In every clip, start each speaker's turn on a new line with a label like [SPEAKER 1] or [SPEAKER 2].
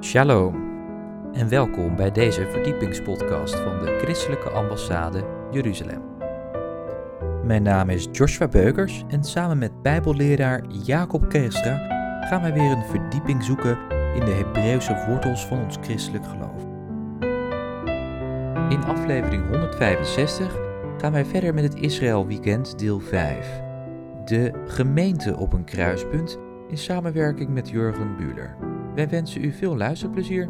[SPEAKER 1] Shalom en welkom bij deze verdiepingspodcast van de Christelijke Ambassade Jeruzalem. Mijn naam is Joshua Beukers en samen met Bijbelleraar Jacob Keestra gaan wij weer een verdieping zoeken in de Hebreeuwse wortels van ons christelijk geloof. In aflevering 165 gaan wij verder met het Israël Weekend deel 5. De gemeente op een kruispunt in samenwerking met Jurgen Bühler. Wij wensen u veel luisterplezier.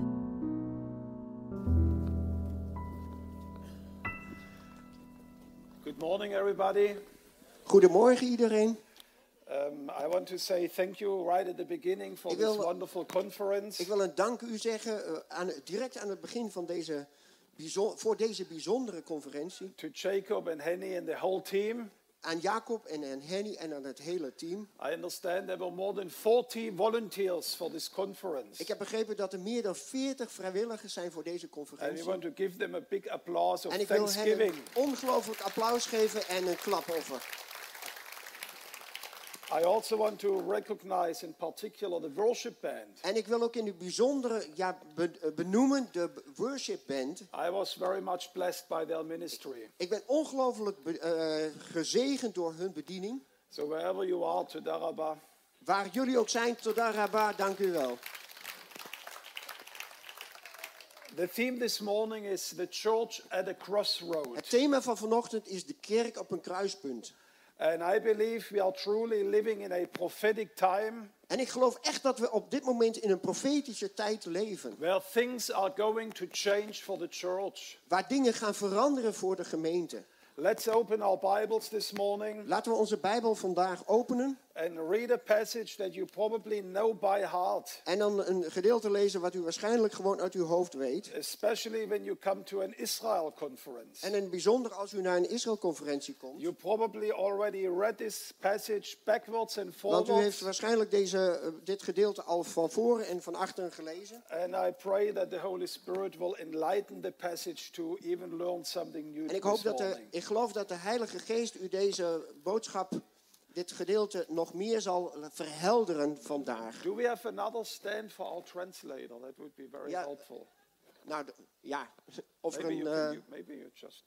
[SPEAKER 2] Good morning, everybody.
[SPEAKER 3] Goedemorgen iedereen.
[SPEAKER 2] Um, I want to say thank you right at the beginning for
[SPEAKER 3] Ik
[SPEAKER 2] this
[SPEAKER 3] wil-
[SPEAKER 2] wonderful conference.
[SPEAKER 3] Ik wil een dank u zeggen eh, aan, direct aan het begin van deze, bijzo- voor deze bijzondere conferentie.
[SPEAKER 2] To Jacob and Henny and the whole team.
[SPEAKER 3] Aan Jacob en aan Henny en aan het hele team.
[SPEAKER 2] I understand there were more than 40 volunteers for this conference.
[SPEAKER 3] Ik heb begrepen dat er meer dan 40 vrijwilligers zijn voor deze
[SPEAKER 2] And we
[SPEAKER 3] conferentie.
[SPEAKER 2] want to give them a big applause of
[SPEAKER 3] En ik wil hen
[SPEAKER 2] thanksgiving.
[SPEAKER 3] een ongelooflijk applaus geven en een klapoffer.
[SPEAKER 2] I also want to recognize in particular the worship band.
[SPEAKER 3] En ik wil ook in het bijzondere ja, be- eh, benoemen de worship band.
[SPEAKER 2] I was very much blessed by their ministry.
[SPEAKER 3] Ik ben ongelooflijk be- eh, gezegend door hun bediening.
[SPEAKER 2] So wherever you are, to Daraba.
[SPEAKER 3] Waar jullie ook zijn, Todaraba, dank u wel.
[SPEAKER 2] The theme this morning is the church at a crossroad.
[SPEAKER 3] Het thema van vanochtend is de kerk op een kruispunt.
[SPEAKER 2] And I believe we are truly living in a prophetic time
[SPEAKER 3] En ik geloof echt dat we op dit moment in een profetische tijd leven.
[SPEAKER 2] where things are going to change for the church.
[SPEAKER 3] Waar dingen gaan veranderen voor de gemeente.
[SPEAKER 2] Let's open our Bibles this morning
[SPEAKER 3] Laten we onze Bijbel vandaag openen.
[SPEAKER 2] and read a passage that you probably know by heart,
[SPEAKER 3] En dan een gedeelte lezen wat u waarschijnlijk gewoon uit uw hoofd weet.
[SPEAKER 2] especially when you come to an Israel conference.
[SPEAKER 3] En in het bijzonder als u naar een Israëlconferentie komt.
[SPEAKER 2] You probably already read this passage backwards and
[SPEAKER 3] Want u heeft
[SPEAKER 2] forwards,
[SPEAKER 3] waarschijnlijk deze, eh, dit gedeelte al van voren en van achteren gelezen.
[SPEAKER 2] and I pray that the Holy Spirit will enlighten the passage to even learn something new
[SPEAKER 3] En ik,
[SPEAKER 2] this
[SPEAKER 3] hoop dat er de,
[SPEAKER 2] morning.
[SPEAKER 3] ik geloof dat de Heilige Geest u deze boodschap, dit gedeelte, nog meer zal verhelderen vandaag.
[SPEAKER 2] Do we have another stand for our translator? That would be very
[SPEAKER 3] Ja,
[SPEAKER 2] helpful.
[SPEAKER 3] Nou, d- ja. Of er
[SPEAKER 2] Maybe you,
[SPEAKER 3] een...
[SPEAKER 2] can,
[SPEAKER 3] eh
[SPEAKER 2] you, maybe you just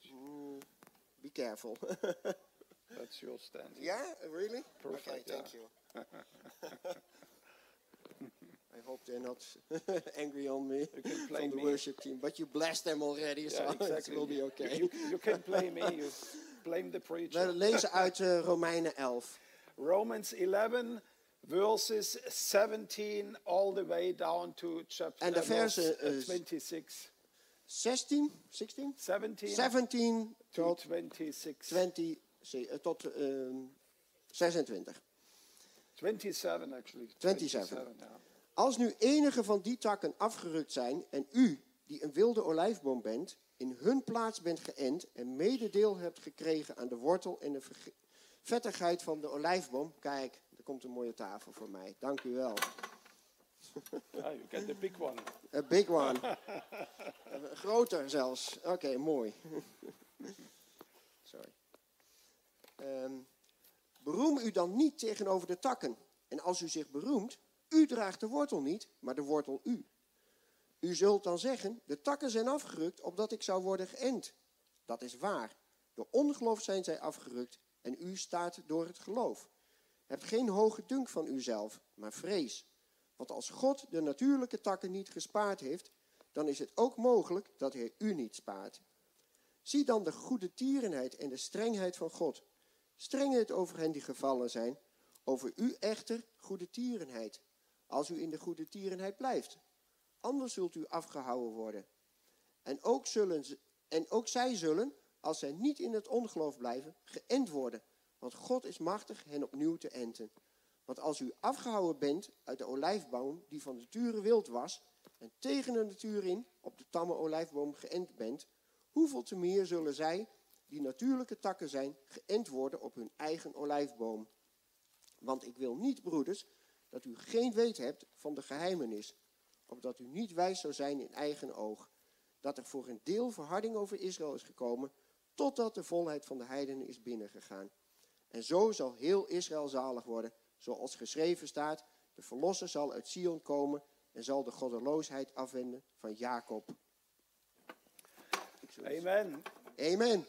[SPEAKER 3] be careful.
[SPEAKER 2] That's your stand.
[SPEAKER 3] Ja, really?
[SPEAKER 2] Perfect,
[SPEAKER 3] okay,
[SPEAKER 2] ja.
[SPEAKER 3] thank you. I hope they're not angry on me
[SPEAKER 2] can
[SPEAKER 3] from
[SPEAKER 2] blame
[SPEAKER 3] the
[SPEAKER 2] me.
[SPEAKER 3] worship team. But you blessed them already, so it will be okay.
[SPEAKER 2] You, you can blame me. You blame the preacher.
[SPEAKER 3] We lezen uit eh, Romeinen 11.
[SPEAKER 2] Romans 11, verses 17, all the way down to chapter
[SPEAKER 3] En de
[SPEAKER 2] uh, verse,
[SPEAKER 3] verse
[SPEAKER 2] uh,
[SPEAKER 3] is-
[SPEAKER 2] 26.
[SPEAKER 3] 16? 16?
[SPEAKER 2] 17
[SPEAKER 3] 17
[SPEAKER 2] to
[SPEAKER 3] tot,
[SPEAKER 2] 26.
[SPEAKER 3] 20, ze- eh, tot ehm, 26.
[SPEAKER 2] 27, actually.
[SPEAKER 3] 27.
[SPEAKER 2] yeah.
[SPEAKER 3] Als nu enige van die takken afgerukt zijn en u, die een wilde olijfboom bent, in hun plaats bent geënt en mededeel hebt gekregen aan de wortel en de verge- vettigheid van de olijfboom. Kijk, er komt een mooie tafel voor mij. Dank u wel.
[SPEAKER 2] Ah, you get the big one.
[SPEAKER 3] A big one. Eh, Groter zelfs. Oké, mooi. Sorry. Ehm, beroem u dan niet tegenover de takken. En als u zich beroemt, u draagt de wortel niet, maar de wortel u. U zult dan zeggen, de takken zijn afgerukt opdat ik zou worden geënt. Dat is waar. Door ongeloof zijn zij afgerukt en u staat door het geloof. Heb geen hoge dunk van uzelf, maar vrees. Want als God de natuurlijke takken niet gespaard heeft, dan is het ook mogelijk dat Hij u niet spaart. Zie dan de goede tierenheid en de strengheid van God. Strengheid over hen die gevallen zijn, over u echter goede tierenheid, als u in de goede tierenheid blijft. Anders zult u afgehouden worden. En ook, zullen ze- en ook zij zullen, als zij niet in het ongeloof blijven, geënt worden. Want God is machtig hen opnieuw te enten. Want als u afgehouden bent uit de olijfboom die van nature wild was, en tegen de natuur in op de tamme olijfboom geënt bent, hoeveel te meer zullen zij, die natuurlijke takken zijn, geënt worden op hun eigen olijfboom? Want ik wil niet, broeders, dat u geen weet hebt van de geheimenis, opdat u niet wijs zou zijn in eigen oog, dat er voor een deel verharding over Israël is gekomen, totdat de volheid van de heidenen is binnengegaan. En zo zal heel Israël zalig worden, zoals geschreven staat, de verlosser zal uit Sion komen en zal de goddeloosheid afwenden van Jacob. Ik zal-
[SPEAKER 2] Amen.
[SPEAKER 3] Amen.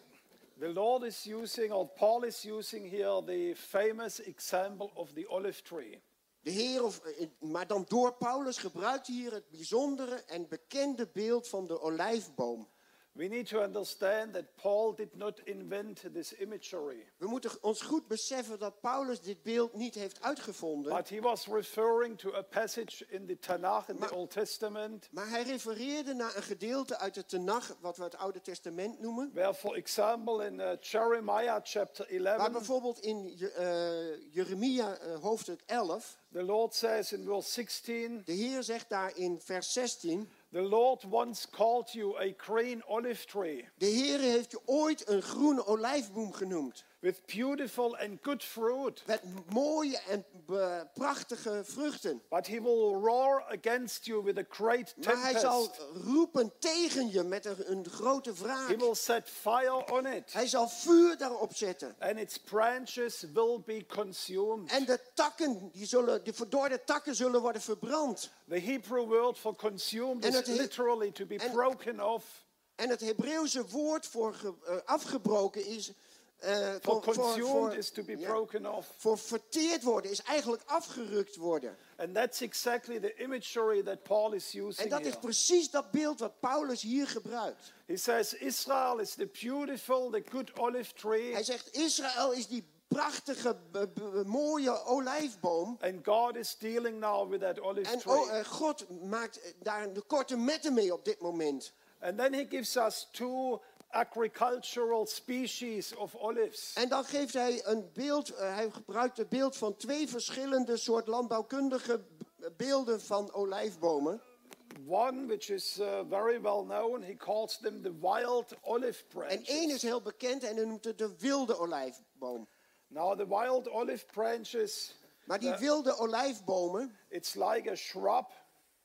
[SPEAKER 2] The Lord is using, or Paul is using here, the famous example of the olive tree.
[SPEAKER 3] De Heer, of, eh, maar dan door Paulus gebruikt hij hier het bijzondere en bekende beeld van de olijfboom.
[SPEAKER 2] We need to understand that Paul did not invent this imagery,
[SPEAKER 3] We moeten ons goed beseffen dat Paulus dit beeld niet heeft uitgevonden.
[SPEAKER 2] but he was referring to a passage in the Tanakh, in the
[SPEAKER 3] Ma-
[SPEAKER 2] Old Testament,
[SPEAKER 3] Maar hij refereerde naar een gedeelte uit de Tenach, wat we het Oude Testament noemen.
[SPEAKER 2] where, for example, in uh, Jeremiah chapter
[SPEAKER 3] Maar
[SPEAKER 2] 11,
[SPEAKER 3] bijvoorbeeld in Je- eh, Jeremia eh, hoofdstuk 11,
[SPEAKER 2] the Lord says in verse 16,
[SPEAKER 3] de Heer zegt daar in vers 16:
[SPEAKER 2] The Lord once called you a green olive tree
[SPEAKER 3] De Heer heeft je ooit een groene olijfboom genoemd.
[SPEAKER 2] with beautiful and good fruit,
[SPEAKER 3] Met mooie en eh, prachtige vruchten.
[SPEAKER 2] but he will roar against you with a great
[SPEAKER 3] Maar hij zal
[SPEAKER 2] tempest.
[SPEAKER 3] roepen tegen je met een, een grote
[SPEAKER 2] He
[SPEAKER 3] wraak.
[SPEAKER 2] will set fire on it,
[SPEAKER 3] Hij zal vuur daarop zetten.
[SPEAKER 2] and its branches will be consumed.
[SPEAKER 3] En de takken, die zullen, de verdorde takken zullen worden verbrand.
[SPEAKER 2] The Hebrew word for consumed
[SPEAKER 3] En
[SPEAKER 2] is
[SPEAKER 3] het he-
[SPEAKER 2] literally to be
[SPEAKER 3] en-
[SPEAKER 2] broken off.
[SPEAKER 3] En het Hebreeuwse woord voor ge- eh, afgebroken is... eh,
[SPEAKER 2] For
[SPEAKER 3] voor- voor- voor-
[SPEAKER 2] consumed is to be
[SPEAKER 3] ja,
[SPEAKER 2] broken off.
[SPEAKER 3] voor verteerd worden, is eigenlijk afgerukt worden.
[SPEAKER 2] And that's exactly the imagery that Paul is
[SPEAKER 3] En
[SPEAKER 2] using
[SPEAKER 3] dat
[SPEAKER 2] here.
[SPEAKER 3] is precies dat beeld wat Paulus hier gebruikt.
[SPEAKER 2] He says Israel is the beautiful, the good olive tree,
[SPEAKER 3] Hij zegt, Israël is die prachtige, b- b- mooie olijfboom.
[SPEAKER 2] and God is dealing now with that olive
[SPEAKER 3] En
[SPEAKER 2] tree.
[SPEAKER 3] oh, eh, God maakt eh, daar een korte metten mee op dit moment.
[SPEAKER 2] And then he gives us two agricultural species of olives.
[SPEAKER 3] En dan geeft hij een beeld, eh, hij gebruikt het beeld van twee verschillende soort landbouwkundige b- beelden van olijfbomen.
[SPEAKER 2] One which is uh, very well known, he calls them the wild olive
[SPEAKER 3] En één is
[SPEAKER 2] branches.
[SPEAKER 3] heel bekend en hij noemt het de wilde olijfboom.
[SPEAKER 2] Now the wild olive branches,
[SPEAKER 3] Maar die wilde olijfbomen,
[SPEAKER 2] it's like a shrub,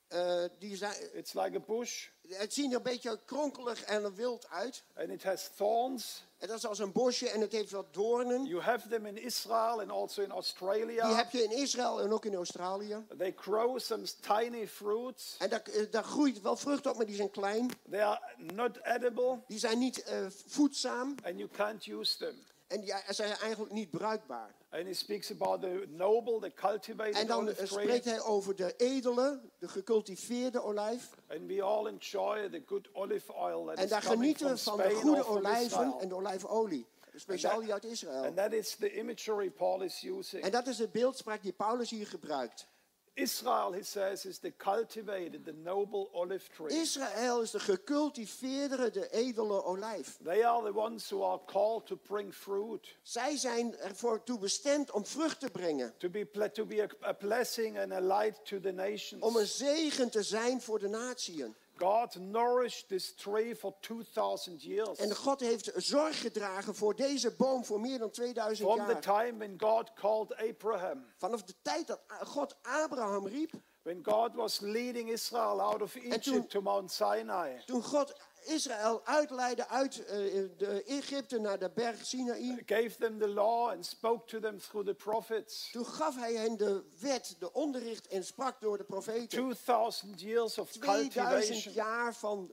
[SPEAKER 3] eh, die zijn,
[SPEAKER 2] it's like a bush,
[SPEAKER 3] het zien er een beetje kronkelig en wild uit.
[SPEAKER 2] and it has thorns.
[SPEAKER 3] En dat is als een bosje en het heeft wat doornen.
[SPEAKER 2] You have them in Israel and also in
[SPEAKER 3] Die
[SPEAKER 2] Australia.
[SPEAKER 3] heb je in Israël en ook in Australië.
[SPEAKER 2] They grow some tiny fruits.
[SPEAKER 3] En daar, eh, daar groeit wel vrucht op, maar die zijn klein.
[SPEAKER 2] They are not edible
[SPEAKER 3] Die zijn niet eh, voedzaam
[SPEAKER 2] and you can't use them.
[SPEAKER 3] en die eh, zijn eigenlijk niet bruikbaar.
[SPEAKER 2] And he speaks about the noble, the
[SPEAKER 3] En
[SPEAKER 2] cultivated
[SPEAKER 3] dan eh,
[SPEAKER 2] olive tree.
[SPEAKER 3] spreekt hij over de edele, de gecultiveerde olijf.
[SPEAKER 2] And we all enjoy the good olive oil that
[SPEAKER 3] En
[SPEAKER 2] is
[SPEAKER 3] daar
[SPEAKER 2] coming
[SPEAKER 3] genieten
[SPEAKER 2] from
[SPEAKER 3] we van
[SPEAKER 2] Spain
[SPEAKER 3] de
[SPEAKER 2] or
[SPEAKER 3] goede
[SPEAKER 2] from
[SPEAKER 3] olijven en
[SPEAKER 2] Israel.
[SPEAKER 3] de olijfolie. Speciaal die uit Israël.
[SPEAKER 2] And that is the imagery Paul is using.
[SPEAKER 3] En dat is de beeldspraak die Paulus hier gebruikt.
[SPEAKER 2] Israel, he says, is the cultivated, the noble olive tree.
[SPEAKER 3] Israël is de gecultiveerde, de edele olijf.
[SPEAKER 2] they are the ones who are called to bring fruit,
[SPEAKER 3] Zij zijn ervoor toe bestemd om vrucht te brengen.
[SPEAKER 2] to be, ple- to be a, a blessing and a light to the nations.
[SPEAKER 3] Om een zegen te zijn voor de natieën.
[SPEAKER 2] God nourished this tree for 2,000 years.
[SPEAKER 3] En God heeft zorg gedragen voor deze boom voor meer dan 2000
[SPEAKER 2] From the
[SPEAKER 3] jaar.
[SPEAKER 2] time when God called Abraham,
[SPEAKER 3] Vanaf de tijd dat God Abraham riep,
[SPEAKER 2] when God was leading Israel out of
[SPEAKER 3] toen-
[SPEAKER 2] Egypt to Mount Sinai.
[SPEAKER 3] toen God Israël uitleidde uit eh, de Egypte naar de berg Sinaï,
[SPEAKER 2] gave them the law and spoke to them through the prophets.
[SPEAKER 3] toen gaf hij hen de wet, de onderricht en sprak door de profeten.
[SPEAKER 2] 2000 years of
[SPEAKER 3] 2000
[SPEAKER 2] cultivation.
[SPEAKER 3] jaar van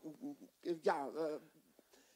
[SPEAKER 3] eh, ja, eh,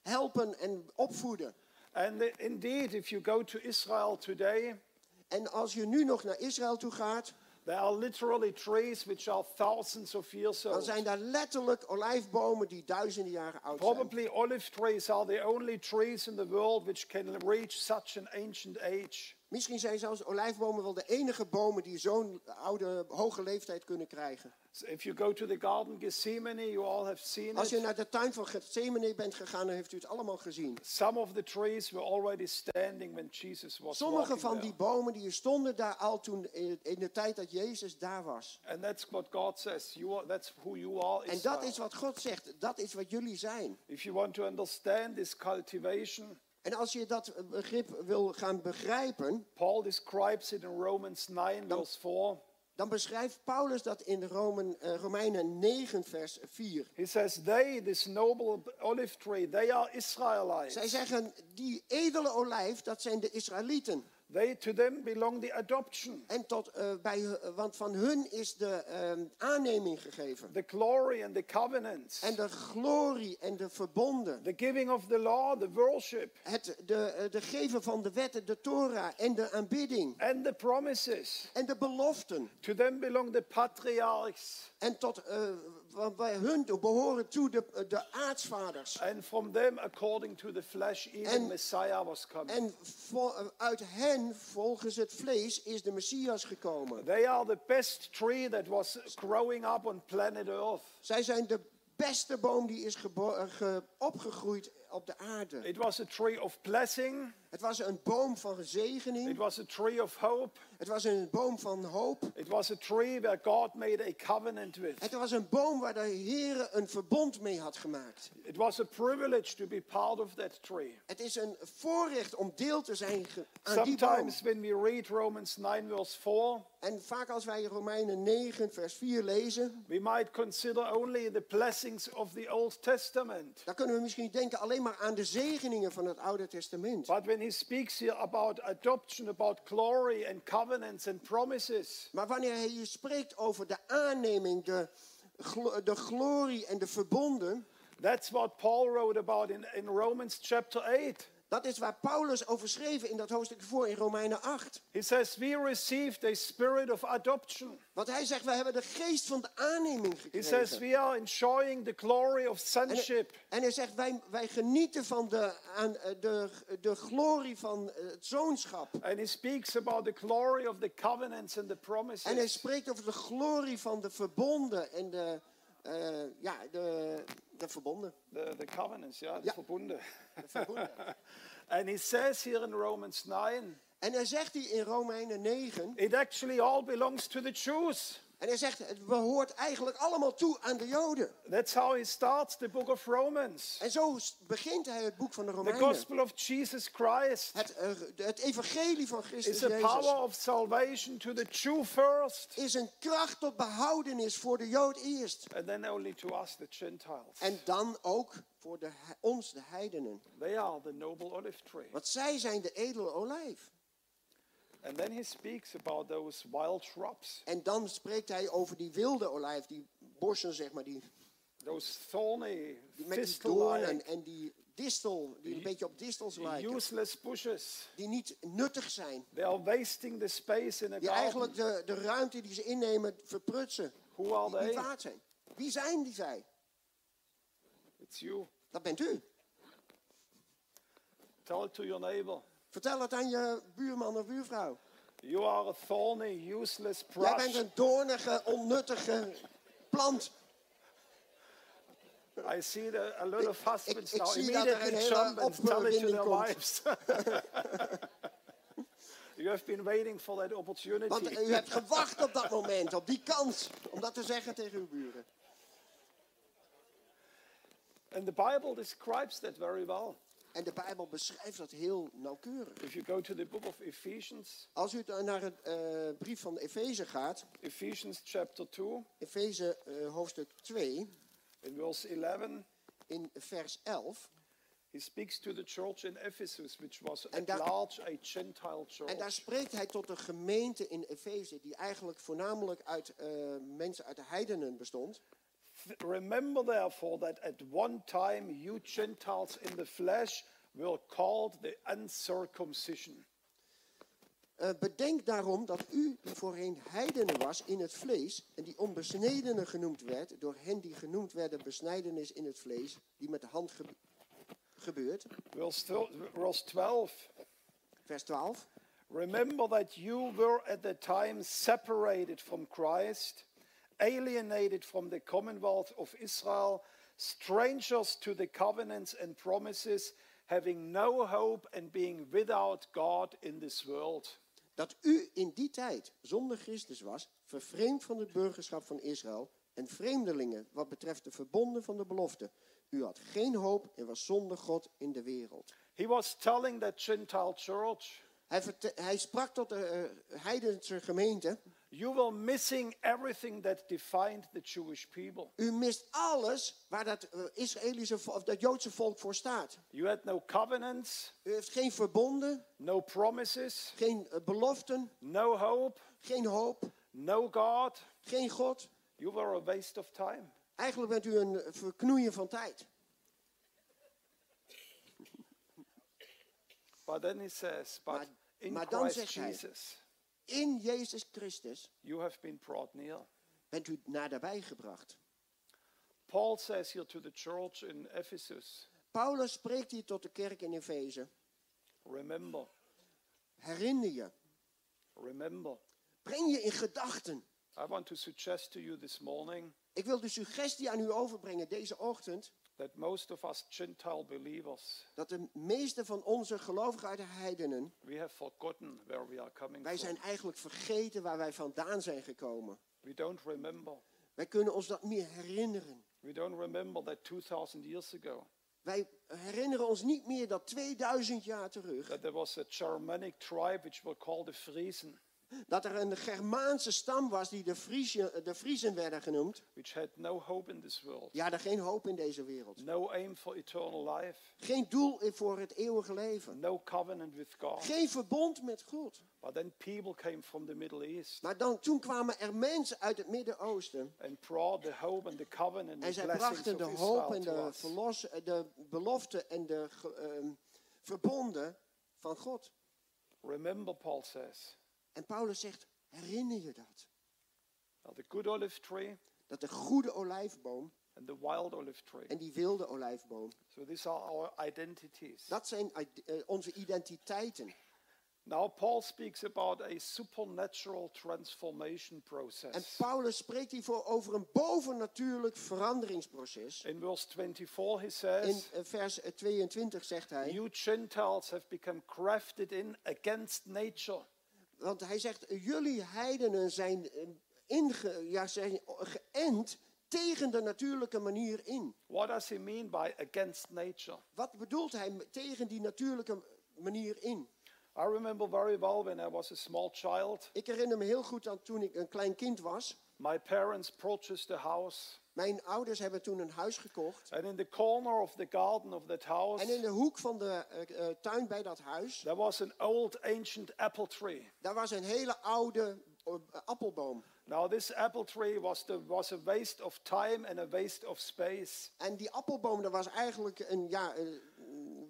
[SPEAKER 3] helpen en opvoeden.
[SPEAKER 2] And the- indeed, if you go to Israel today,
[SPEAKER 3] En als je nu nog naar Israël toe gaat,
[SPEAKER 2] there are literally trees which are thousands of years
[SPEAKER 3] dan
[SPEAKER 2] old.
[SPEAKER 3] zijn daar letterlijk olijfbomen die duizenden jaren oud zijn.
[SPEAKER 2] Probably olive trees are the only trees in the world which can reach such an ancient age.
[SPEAKER 3] Misschien zijn zelfs olijfbomen wel de enige bomen die zo'n oude, hoge leeftijd kunnen krijgen.
[SPEAKER 2] So if you go to the garden Gethsemane, you all have seen
[SPEAKER 3] Als je
[SPEAKER 2] it.
[SPEAKER 3] naar de tuin van Gethsemane bent gegaan, dan heeft u het allemaal gezien.
[SPEAKER 2] Some of the trees were already standing when Jesus was
[SPEAKER 3] Sommige
[SPEAKER 2] walking
[SPEAKER 3] van
[SPEAKER 2] there.
[SPEAKER 3] die bomen die stonden daar al toen in in de tijd dat Jezus daar was.
[SPEAKER 2] And that's what God says. You are, that's who you are.
[SPEAKER 3] En dat
[SPEAKER 2] Israel.
[SPEAKER 3] is wat God zegt, dat is wat jullie zijn.
[SPEAKER 2] If you want to understand this cultivation,
[SPEAKER 3] En als je dat eh, begrip wil gaan begrijpen,
[SPEAKER 2] Paul describes it in Romans 9, verse 4.
[SPEAKER 3] dan beschrijft Paulus dat in Romen, eh, Romeinen 9, vers 4.
[SPEAKER 2] He says, They, this noble olive tree, they are
[SPEAKER 3] Zij
[SPEAKER 2] Israelites.
[SPEAKER 3] zeggen, die edele olijf, dat zijn de Israëlieten.
[SPEAKER 2] They to them belong the adoption,
[SPEAKER 3] En tot, eh, bij, hu- want van hun is de ehm, aanneming gegeven.
[SPEAKER 2] the glory and the covenants,
[SPEAKER 3] En de glorie en de verbonden.
[SPEAKER 2] the giving of the law, the worship,
[SPEAKER 3] Het, de, eh, de geven van de wetten, de Torah en de aanbidding.
[SPEAKER 2] and the promises.
[SPEAKER 3] En de beloften.
[SPEAKER 2] To them belong the patriarchs,
[SPEAKER 3] En tot, eh, want bij hun toe behoren toe de, de aartsvaders.
[SPEAKER 2] and from them, according to the flesh, even
[SPEAKER 3] And-
[SPEAKER 2] Messiah was coming.
[SPEAKER 3] En vo- eh, uit hen, volgens het vlees, is de Messias gekomen.
[SPEAKER 2] They are the best tree that was growing up on planet Earth.
[SPEAKER 3] Zij zijn de beste boom die is gebo- eh, ge- opgegroeid op de aarde.
[SPEAKER 2] It was a tree of blessing,
[SPEAKER 3] Het was een boom van
[SPEAKER 2] it
[SPEAKER 3] zegening.
[SPEAKER 2] was a tree of hope,
[SPEAKER 3] Het was een boom van hoop.
[SPEAKER 2] it was a tree where God made a covenant with.
[SPEAKER 3] Het was een boom waar de Heer een verbond mee had gemaakt.
[SPEAKER 2] It was a privilege to be part of that tree.
[SPEAKER 3] Het is een voorrecht om deel te zijn ge- aan die boom.
[SPEAKER 2] Sometimes when we read Romans 9, verse 4,
[SPEAKER 3] En vaak als wij Romeinen 9, vers 4 lezen,
[SPEAKER 2] we might consider only the blessings of the Old Testament.
[SPEAKER 3] dan kunnen we misschien denken alleen maar aan de zegeningen van het Oude Testament.
[SPEAKER 2] But when he speaks here about adoption, about glory and covenants and promises,
[SPEAKER 3] Maar wanneer hij hier spreekt over de aanneming, de, glo- de glorie en de verbonden,
[SPEAKER 2] that's what Paul wrote about in, in Romans chapter 8.
[SPEAKER 3] dat is waar Paulus over schreef in dat hoofdstuk voor in Romeinen 8.
[SPEAKER 2] He says, We received a spirit of adoption.
[SPEAKER 3] Want hij zegt, we hebben de geest van de aanneming
[SPEAKER 2] He says,
[SPEAKER 3] gekregen.
[SPEAKER 2] We are enjoying the glory of
[SPEAKER 3] En,
[SPEAKER 2] sonship.
[SPEAKER 3] en hij zegt, wij, wij genieten van de, aan, eh, de, de glorie van eh, het zoonschap.
[SPEAKER 2] And he speaks about the glory of the covenants and the
[SPEAKER 3] En hij
[SPEAKER 2] promises.
[SPEAKER 3] spreekt over de glorie van de verbonden en de, eh, ja, de, de verbonden.
[SPEAKER 2] The, the covenants, yeah, the
[SPEAKER 3] Ja.
[SPEAKER 2] Verbunde.
[SPEAKER 3] Verbunde.
[SPEAKER 2] and he says here in Romans 9,
[SPEAKER 3] En hij zegt hier in Romeinen 9,
[SPEAKER 2] it actually all belongs to the Jews.
[SPEAKER 3] en hij zegt, het behoort eigenlijk allemaal toe aan de Joden.
[SPEAKER 2] That's how he starts the book of Romans.
[SPEAKER 3] En zo s- begint hij het boek van de
[SPEAKER 2] The
[SPEAKER 3] Romeinen.
[SPEAKER 2] gospel of Jesus Christ
[SPEAKER 3] Het, eh, de- het evangelie van Christus
[SPEAKER 2] is a power
[SPEAKER 3] Jezus
[SPEAKER 2] of salvation to the Jew first,
[SPEAKER 3] is een kracht tot behoudenis voor de Jood eerst.
[SPEAKER 2] and then only to us, the Gentiles.
[SPEAKER 3] En dan ook voor de, he- ons, de heidenen.
[SPEAKER 2] They are the noble olive tree.
[SPEAKER 3] Want zij zijn de edele olijf.
[SPEAKER 2] And then he speaks about those wild shrubs,
[SPEAKER 3] En dan spreekt hij over die wilde olijf, die borsten zeg maar, die
[SPEAKER 2] those thorny,
[SPEAKER 3] Die met die doornen
[SPEAKER 2] thistle-like,
[SPEAKER 3] en die distel, die een beetje op distels lijken.
[SPEAKER 2] useless bushes.
[SPEAKER 3] Die niet nuttig zijn.
[SPEAKER 2] They are wasting the space in a
[SPEAKER 3] Die
[SPEAKER 2] garden.
[SPEAKER 3] eigenlijk de, de ruimte die ze innemen verprutsen.
[SPEAKER 2] Hoe al
[SPEAKER 3] Die niet
[SPEAKER 2] die?
[SPEAKER 3] waard zijn. Wie zijn die zij?
[SPEAKER 2] It's you.
[SPEAKER 3] Dat bent u.
[SPEAKER 2] Tell it to your neighbor.
[SPEAKER 3] Vertel het aan je buurman of buurvrouw.
[SPEAKER 2] You are a thorny, useless
[SPEAKER 3] Jij
[SPEAKER 2] brush.
[SPEAKER 3] bent een doornige, onnuttige plant.
[SPEAKER 2] I see the, a lot of husbands
[SPEAKER 3] ik
[SPEAKER 2] now
[SPEAKER 3] zie dat er een
[SPEAKER 2] immediately
[SPEAKER 3] hele
[SPEAKER 2] jump and tell it to
[SPEAKER 3] opwinding
[SPEAKER 2] their
[SPEAKER 3] komt.
[SPEAKER 2] wives. you have been waiting for that opportunity.
[SPEAKER 3] Want u hebt gewacht op dat moment, op die kans. Om dat te zeggen tegen uw buren.
[SPEAKER 2] And the Bible describes that very well.
[SPEAKER 3] En de Bijbel beschrijft dat heel nauwkeurig.
[SPEAKER 2] If you go to the book of Ephesians,
[SPEAKER 3] Als u dan naar het eh, brief van Efeze gaat.
[SPEAKER 2] Ephesians chapter 2,
[SPEAKER 3] Efeze eh, hoofdstuk 2.
[SPEAKER 2] in verse 11,
[SPEAKER 3] in vers 11.
[SPEAKER 2] he speaks to the church in Ephesus, which was
[SPEAKER 3] En
[SPEAKER 2] at
[SPEAKER 3] daar-
[SPEAKER 2] large a Gentile church.
[SPEAKER 3] En daar spreekt hij tot de gemeente in Efeze, die eigenlijk voornamelijk uit eh, mensen uit de heidenen bestond.
[SPEAKER 2] Th- Remember therefore that at one time you Gentiles in the flesh were called the uncircumcision.
[SPEAKER 3] Eh, bedenk daarom dat u, die voorheen heidenen was in het vlees, en die onbesnedene genoemd werd, door hen die genoemd werden besnijdenis in het vlees, die met de hand gebe- gebeurt.
[SPEAKER 2] Verse thir- verse 12.
[SPEAKER 3] Vers 12.
[SPEAKER 2] Remember that you were at that time separated from Christ, alienated from the commonwealth of Israel, strangers to the covenants and promises, having no hope and being without God in this world.
[SPEAKER 3] Dat u in die tijd zonder Christus was, vervreemd van het burgerschap van Israël en vreemdelingen wat betreft de verbonden van de belofte. U had geen hoop en was zonder God in de wereld.
[SPEAKER 2] He was telling that Gentile church
[SPEAKER 3] Hij, verte- hij sprak tot de eh, heidense gemeente
[SPEAKER 2] You were missing everything that defined the Jewish people.
[SPEAKER 3] U mist alles waar dat eh, Israëlische vo- of dat Joodse volk voor staat.
[SPEAKER 2] You had no covenants,
[SPEAKER 3] U heeft geen verbonden,
[SPEAKER 2] no promises,
[SPEAKER 3] geen eh, beloften,
[SPEAKER 2] no hope,
[SPEAKER 3] geen hoop,
[SPEAKER 2] no God.
[SPEAKER 3] geen God.
[SPEAKER 2] You were a waste of time.
[SPEAKER 3] Eigenlijk bent u een eh, verknoeien van tijd.
[SPEAKER 2] But then he says, but
[SPEAKER 3] Maar-
[SPEAKER 2] in
[SPEAKER 3] maar dan
[SPEAKER 2] Christ
[SPEAKER 3] zegt hij-
[SPEAKER 2] Jesus,
[SPEAKER 3] In Jezus Christus
[SPEAKER 2] you have been brought near.
[SPEAKER 3] bent u naderbij gebracht.
[SPEAKER 2] Paul says here to the church in Ephesus,
[SPEAKER 3] Paulus spreekt hier tot de kerk in Efeze.
[SPEAKER 2] remember,
[SPEAKER 3] Herinner je.
[SPEAKER 2] remember.
[SPEAKER 3] Breng je in gedachten.
[SPEAKER 2] I want to suggest to you this morning
[SPEAKER 3] Ik wil de suggestie aan u overbrengen deze ochtend.
[SPEAKER 2] that most of us Gentile believers,
[SPEAKER 3] Dat de meeste van onze gelovigen uit de heidenen.
[SPEAKER 2] we have forgotten where we are coming
[SPEAKER 3] Wij
[SPEAKER 2] from.
[SPEAKER 3] zijn eigenlijk vergeten waar wij vandaan zijn gekomen.
[SPEAKER 2] We don't remember.
[SPEAKER 3] Wij kunnen ons dat meer herinneren.
[SPEAKER 2] We don't remember that 2,000 years ago,
[SPEAKER 3] Wij herinneren ons niet meer dat 2000 jaar terug.
[SPEAKER 2] that there was a Germanic tribe which were called the Friesen,
[SPEAKER 3] Dat er een Germaanse stam was die de Friesen, de Friesen werden genoemd.
[SPEAKER 2] which had no hope in this world,
[SPEAKER 3] Ja, er geen hoop in deze wereld.
[SPEAKER 2] no aim for eternal life,
[SPEAKER 3] Geen doel voor het eeuwige leven.
[SPEAKER 2] no covenant with God.
[SPEAKER 3] Geen verbond met God.
[SPEAKER 2] But then people came from the Middle East
[SPEAKER 3] Maar dan, toen kwamen er mensen uit het Midden-Oosten.
[SPEAKER 2] and brought the hope and the covenant
[SPEAKER 3] En
[SPEAKER 2] and
[SPEAKER 3] zij
[SPEAKER 2] the blessings
[SPEAKER 3] brachten
[SPEAKER 2] of
[SPEAKER 3] de hoop
[SPEAKER 2] Israel
[SPEAKER 3] en
[SPEAKER 2] to
[SPEAKER 3] de,
[SPEAKER 2] us.
[SPEAKER 3] verlos, de belofte en de ge- ehm, verbonden van God.
[SPEAKER 2] Remember, Paul says,
[SPEAKER 3] En Paulus zegt, herinner je dat?
[SPEAKER 2] now the good olive tree
[SPEAKER 3] Dat de goede olijfboom
[SPEAKER 2] and the wild olive tree.
[SPEAKER 3] en die wilde olijfboom,
[SPEAKER 2] So these are our identities.
[SPEAKER 3] dat zijn ide- eh, onze identiteiten.
[SPEAKER 2] Now Paul speaks about a supernatural transformation
[SPEAKER 3] En
[SPEAKER 2] process.
[SPEAKER 3] Paulus spreekt hiervoor over een bovennatuurlijk veranderingsproces.
[SPEAKER 2] In verse 24 he
[SPEAKER 3] In
[SPEAKER 2] says,
[SPEAKER 3] eh, vers eh, 22 zegt hij,
[SPEAKER 2] you Gentiles have become crafted in against nature.
[SPEAKER 3] Want hij zegt, jullie heidenen zijn, eh, inge, ja, zijn geënt tegen de natuurlijke manier in.
[SPEAKER 2] What does he mean by against nature?
[SPEAKER 3] Wat bedoelt hij met tegen die natuurlijke manier in?
[SPEAKER 2] I remember very well when I was a small child,
[SPEAKER 3] Ik herinner me heel goed aan toen ik een klein kind was.
[SPEAKER 2] My parents purchased a house,
[SPEAKER 3] Mijn ouders hebben toen een huis gekocht.
[SPEAKER 2] and in the corner of the garden of that house,
[SPEAKER 3] En in de hoek van de eh, eh, tuin bij dat huis,
[SPEAKER 2] there was an old ancient apple tree.
[SPEAKER 3] daar was een hele oude eh, appelboom.
[SPEAKER 2] Now, this apple tree was, the, was a waste of time and a waste of space.
[SPEAKER 3] En die appelboom, dat was eigenlijk een ja, eh,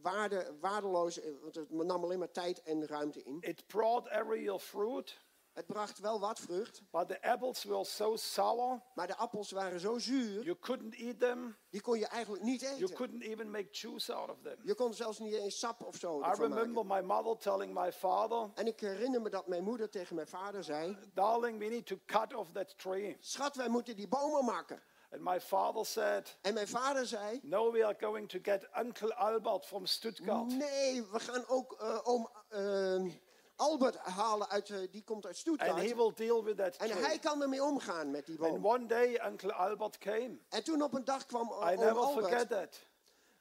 [SPEAKER 3] waarde, waardeloos, eh, want het nam alleen maar tijd en ruimte in.
[SPEAKER 2] It brought every year fruit,
[SPEAKER 3] Het bracht wel wat vrucht.
[SPEAKER 2] but the apples were so sour,
[SPEAKER 3] Maar de appels waren zo zuur,
[SPEAKER 2] you couldn't eat them.
[SPEAKER 3] die kon je eigenlijk niet
[SPEAKER 2] You
[SPEAKER 3] eten.
[SPEAKER 2] couldn't even make juice out of them.
[SPEAKER 3] Je kon zelfs niet eens sap of zo
[SPEAKER 2] I
[SPEAKER 3] ervan maken.
[SPEAKER 2] remember my mother telling my father,
[SPEAKER 3] En ik herinner me dat mijn moeder tegen mijn vader zei...
[SPEAKER 2] Darling, we need to cut off that tree.
[SPEAKER 3] Schat, wij moeten die bomen maken.
[SPEAKER 2] And my father said,
[SPEAKER 3] En mijn vader zei...
[SPEAKER 2] No, we are going to get Uncle Albert from Stuttgart.
[SPEAKER 3] Nee, we gaan ook eh, oom eh, Albert halen, uit, eh, die komt uit
[SPEAKER 2] And he
[SPEAKER 3] Stuttgart.
[SPEAKER 2] will deal with that
[SPEAKER 3] En
[SPEAKER 2] tree.
[SPEAKER 3] hij kan ermee omgaan met die
[SPEAKER 2] And
[SPEAKER 3] boom.
[SPEAKER 2] one day Uncle Albert came.
[SPEAKER 3] En toen op een dag kwam eh,
[SPEAKER 2] I
[SPEAKER 3] oom
[SPEAKER 2] never
[SPEAKER 3] Albert.
[SPEAKER 2] forget that.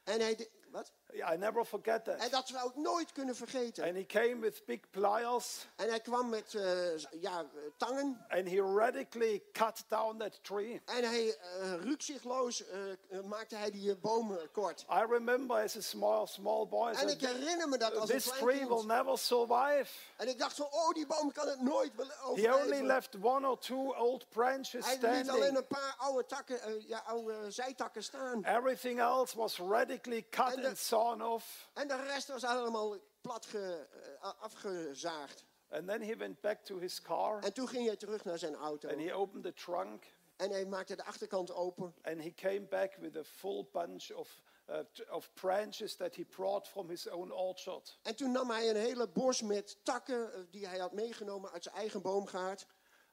[SPEAKER 3] En hij... de- Wat?
[SPEAKER 2] Yeah, I never forget
[SPEAKER 3] En
[SPEAKER 2] that.
[SPEAKER 3] dat zou ik nooit kunnen vergeten.
[SPEAKER 2] And he came with big pliers
[SPEAKER 3] En hij kwam met eh, ja, eh, tangen.
[SPEAKER 2] and he radically cut down that tree.
[SPEAKER 3] En hij eh rukzichtloos eh, eh, maakte hij die eh, boom eh, kort.
[SPEAKER 2] I remember as a small small boy I
[SPEAKER 3] En
[SPEAKER 2] said,
[SPEAKER 3] ik herinner me dat als een
[SPEAKER 2] this
[SPEAKER 3] klein
[SPEAKER 2] tree will
[SPEAKER 3] kind.
[SPEAKER 2] never survive.
[SPEAKER 3] En ik dacht van, oh, die boom kan het nooit wel
[SPEAKER 2] He only
[SPEAKER 3] overleven.
[SPEAKER 2] left one or two old branches
[SPEAKER 3] Hij liet alleen
[SPEAKER 2] standing.
[SPEAKER 3] een paar oude, takken, eh, ja, oude eh, zijtakken staan.
[SPEAKER 2] Everything else was radically cut
[SPEAKER 3] En de-
[SPEAKER 2] and sawn off.
[SPEAKER 3] En de rest was allemaal plat ge- eh, a- afgezaagd.
[SPEAKER 2] And then he went back to his car
[SPEAKER 3] En toen ging hij terug naar zijn auto.
[SPEAKER 2] and he opened the trunk
[SPEAKER 3] En hij maakte de achterkant open.
[SPEAKER 2] And he came back with a full bunch of, uh, t- of branches that he brought from his own orchard.
[SPEAKER 3] En toen nam hij een hele bos met takken eh, die hij had meegenomen uit zijn eigen boomgaard.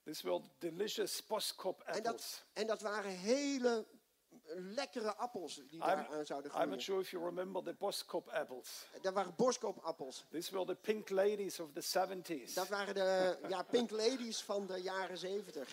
[SPEAKER 2] These were delicious boskop
[SPEAKER 3] En
[SPEAKER 2] apples.
[SPEAKER 3] dat, en dat waren hele lekkere appels die
[SPEAKER 2] I'm,
[SPEAKER 3] daar aan zouden
[SPEAKER 2] I'm
[SPEAKER 3] groeien.
[SPEAKER 2] not sure if you remember the boskop apples.
[SPEAKER 3] Dat waren boskoopappels.
[SPEAKER 2] These were the pink ladies of the 70s.
[SPEAKER 3] Dat waren de ja, pink ladies van de jaren zeventig.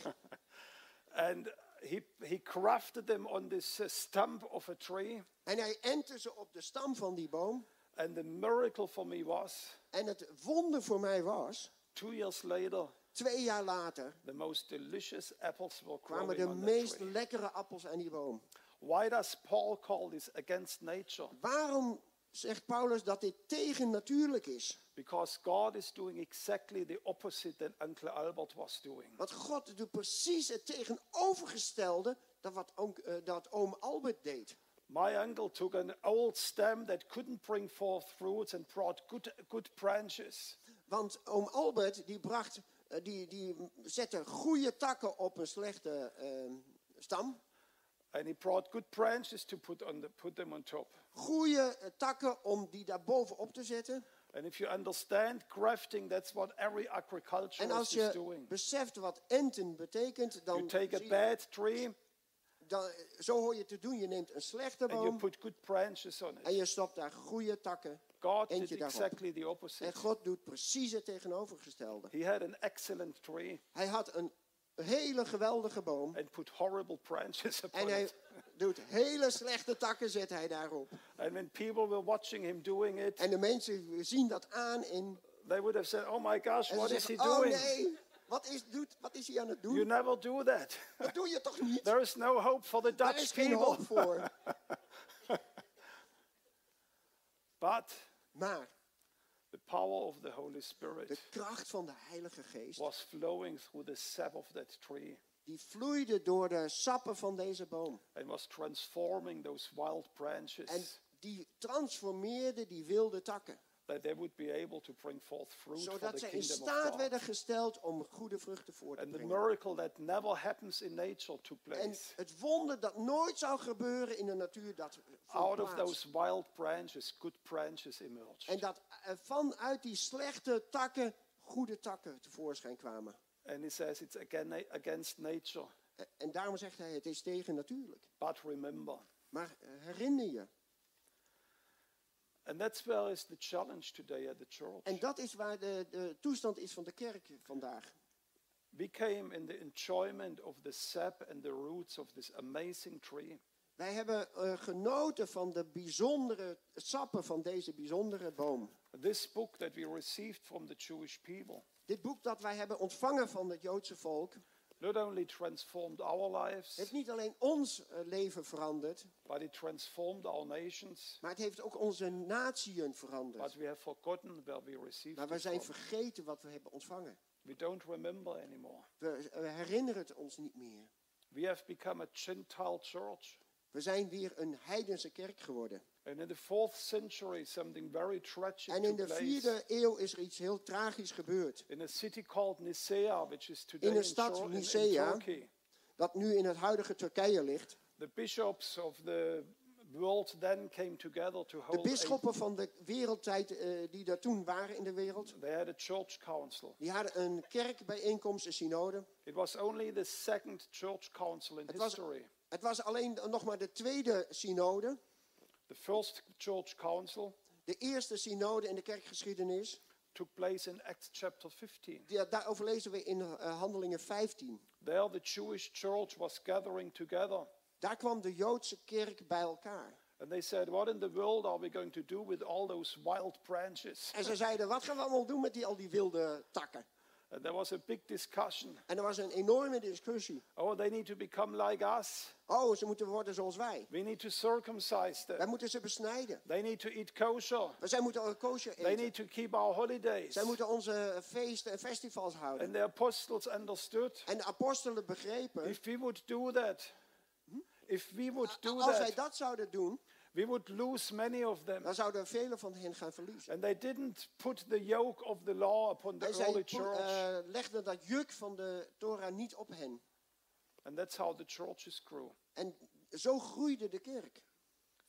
[SPEAKER 2] And he, he crafted them on this uh, stump of a tree.
[SPEAKER 3] En hij entte ze op de stam van die boom.
[SPEAKER 2] And the miracle for me was
[SPEAKER 3] En het wonder voor mij was,
[SPEAKER 2] two years later,
[SPEAKER 3] Twee jaar later
[SPEAKER 2] The most delicious apples were
[SPEAKER 3] kwamen
[SPEAKER 2] growing
[SPEAKER 3] de
[SPEAKER 2] on that
[SPEAKER 3] meest
[SPEAKER 2] tree.
[SPEAKER 3] lekkere appels aan die boom.
[SPEAKER 2] Why does Paul call this against nature?
[SPEAKER 3] Waarom zegt Paulus dat dit tegennatuurlijk is?
[SPEAKER 2] Because God is doing exactly the opposite than Uncle Albert was doing.
[SPEAKER 3] Want God doet precies het tegenovergestelde dan wat oom, eh, dat oom Albert deed.
[SPEAKER 2] My uncle took an old stem that couldn't bring forth fruits and brought good, good branches.
[SPEAKER 3] Want oom Albert die bracht, eh, die, die zette goede takken op een slechte eh, stam.
[SPEAKER 2] And he brought good branches to put, on the, put them on top.
[SPEAKER 3] Goede eh, takken om die daar bovenop te zetten.
[SPEAKER 2] And if you understand grafting, that's what every
[SPEAKER 3] En als
[SPEAKER 2] agriculturist is
[SPEAKER 3] je
[SPEAKER 2] doing.
[SPEAKER 3] beseft wat enten betekent,
[SPEAKER 2] You
[SPEAKER 3] dan,
[SPEAKER 2] take a
[SPEAKER 3] zie je-
[SPEAKER 2] bad tree
[SPEAKER 3] dan eh, zo hoor je het te doen. Je neemt een slechte
[SPEAKER 2] and you
[SPEAKER 3] boom
[SPEAKER 2] put good branches on
[SPEAKER 3] en
[SPEAKER 2] it.
[SPEAKER 3] je stopt daar goede takken.
[SPEAKER 2] God
[SPEAKER 3] eentje
[SPEAKER 2] did
[SPEAKER 3] daarop.
[SPEAKER 2] exactly the
[SPEAKER 3] En
[SPEAKER 2] opposite.
[SPEAKER 3] God doet precies het tegenovergestelde.
[SPEAKER 2] He had an excellent tree
[SPEAKER 3] Hij had een hele geweldige boom.
[SPEAKER 2] and put horrible branches
[SPEAKER 3] En
[SPEAKER 2] upon
[SPEAKER 3] hij
[SPEAKER 2] it.
[SPEAKER 3] doet hele slechte takken, zet hij daarop.
[SPEAKER 2] And when people were watching him doing it,
[SPEAKER 3] En de mensen zien dat aan en,
[SPEAKER 2] they would have said, Oh my gosh,
[SPEAKER 3] en
[SPEAKER 2] what
[SPEAKER 3] ze
[SPEAKER 2] is he
[SPEAKER 3] zeggen, oh
[SPEAKER 2] doing?
[SPEAKER 3] nee, wat is, doet, wat is hij aan het
[SPEAKER 2] You
[SPEAKER 3] doen?
[SPEAKER 2] never do that.
[SPEAKER 3] Dat doe je toch niet?
[SPEAKER 2] there is no hope for the
[SPEAKER 3] Daar is
[SPEAKER 2] Dutch
[SPEAKER 3] geen hoop
[SPEAKER 2] people.
[SPEAKER 3] voor.
[SPEAKER 2] But
[SPEAKER 3] Maar
[SPEAKER 2] the power of the Holy Spirit
[SPEAKER 3] de kracht van de Heilige Geest,
[SPEAKER 2] was flowing through the sap of that tree
[SPEAKER 3] die vloeide door de sappen van deze boom.
[SPEAKER 2] and was transforming those wild branches
[SPEAKER 3] En die transformeerde die wilde takken.
[SPEAKER 2] that they would be able to bring forth fruit for
[SPEAKER 3] Zodat
[SPEAKER 2] the
[SPEAKER 3] zij in
[SPEAKER 2] kingdom
[SPEAKER 3] staat
[SPEAKER 2] of God.
[SPEAKER 3] werden gesteld om goede vruchten voor te
[SPEAKER 2] And the
[SPEAKER 3] brengen.
[SPEAKER 2] miracle that never happens in nature took
[SPEAKER 3] En
[SPEAKER 2] place.
[SPEAKER 3] het wonder dat nooit zou gebeuren in de natuur, dat vond
[SPEAKER 2] Out of
[SPEAKER 3] plaats.
[SPEAKER 2] those wild branches, good branches emerged.
[SPEAKER 3] En dat er vanuit die slechte takken goede takken tevoorschijn kwamen.
[SPEAKER 2] And he says it's again against nature.
[SPEAKER 3] E- En daarom zegt hij, het is tegennatuurlijk.
[SPEAKER 2] But remember,
[SPEAKER 3] Maar eh, herinner je,
[SPEAKER 2] and that's where is the challenge today at the
[SPEAKER 3] en
[SPEAKER 2] church.
[SPEAKER 3] dat is waar de, de toestand is van de kerk vandaag.
[SPEAKER 2] We came in the enjoyment of the sap and the roots of this amazing tree.
[SPEAKER 3] Wij hebben eh, genoten van de bijzondere sappen van deze bijzondere boom.
[SPEAKER 2] This book that we received from the Jewish people
[SPEAKER 3] Dit boek dat wij hebben ontvangen van het Joodse volk,
[SPEAKER 2] not only transformed our lives,
[SPEAKER 3] heeft niet alleen ons eh, leven veranderd,
[SPEAKER 2] but it transformed our nations.
[SPEAKER 3] maar het heeft ook onze natieën veranderd.
[SPEAKER 2] But we have forgotten where we received
[SPEAKER 3] Maar we
[SPEAKER 2] it
[SPEAKER 3] zijn
[SPEAKER 2] from.
[SPEAKER 3] vergeten wat we hebben ontvangen.
[SPEAKER 2] We don't remember anymore.
[SPEAKER 3] We eh, herinneren het ons niet meer.
[SPEAKER 2] We have become a Gentile church.
[SPEAKER 3] We zijn weer een heidense kerk geworden.
[SPEAKER 2] And in the fourth century, something very tragic
[SPEAKER 3] En in de
[SPEAKER 2] took place.
[SPEAKER 3] vierde eeuw is er iets heel tragisch gebeerd.
[SPEAKER 2] In a city called Nicaea, which is today in,
[SPEAKER 3] een stad
[SPEAKER 2] Tur- in- in
[SPEAKER 3] Nicea.
[SPEAKER 2] Turkey.
[SPEAKER 3] Dat nu in het huidige Turkije ligt.
[SPEAKER 2] The bishops of the world then came together to
[SPEAKER 3] De
[SPEAKER 2] hold.
[SPEAKER 3] bisschoppen van de wereldtijd eh, die daar toen waren in de wereld.
[SPEAKER 2] a- they had a church council.
[SPEAKER 3] Die hadden een kerkbijeenkomst, een synode.
[SPEAKER 2] It was only the second church council in
[SPEAKER 3] Het was-
[SPEAKER 2] history.
[SPEAKER 3] Het was alleen nog maar de tweede synode.
[SPEAKER 2] The first church council
[SPEAKER 3] De eerste synode in de kerkgeschiedenis.
[SPEAKER 2] took place in Acts chapter 15.
[SPEAKER 3] Die, daarover lezen we in eh, Handelingen 15.
[SPEAKER 2] There, the Jewish church was gathering together.
[SPEAKER 3] Daar kwam de Joodse kerk bij elkaar.
[SPEAKER 2] And they said, What in the world are we going to do with all those wild branches?
[SPEAKER 3] En ze zeiden, wat gaan we allemaal doen met die, al die wilde takken?
[SPEAKER 2] And there was a big discussion.
[SPEAKER 3] En er was een enorme discussie.
[SPEAKER 2] Oh, they need to become like us.
[SPEAKER 3] Oh, ze moeten worden zoals wij.
[SPEAKER 2] We need to circumcise
[SPEAKER 3] Wij
[SPEAKER 2] them.
[SPEAKER 3] moeten ze besnijden.
[SPEAKER 2] They need to eat kosher.
[SPEAKER 3] Maar zij moeten ook kosher
[SPEAKER 2] They
[SPEAKER 3] eten.
[SPEAKER 2] need to keep our holidays.
[SPEAKER 3] Zij moeten onze feesten en festivals houden.
[SPEAKER 2] And the apostles understood
[SPEAKER 3] En de apostelen begrepen,
[SPEAKER 2] if we would do that, if we would do
[SPEAKER 3] als wij
[SPEAKER 2] that,
[SPEAKER 3] dat zouden doen,
[SPEAKER 2] we would lose many of them.
[SPEAKER 3] dan zouden velen van hen gaan verliezen.
[SPEAKER 2] And they didn't put the yoke of the law upon the
[SPEAKER 3] En zij
[SPEAKER 2] early
[SPEAKER 3] po-
[SPEAKER 2] church.
[SPEAKER 3] eh, legden dat juk van de Torah niet op hen.
[SPEAKER 2] And that's how the churches grew.
[SPEAKER 3] En zo groeide de kerk.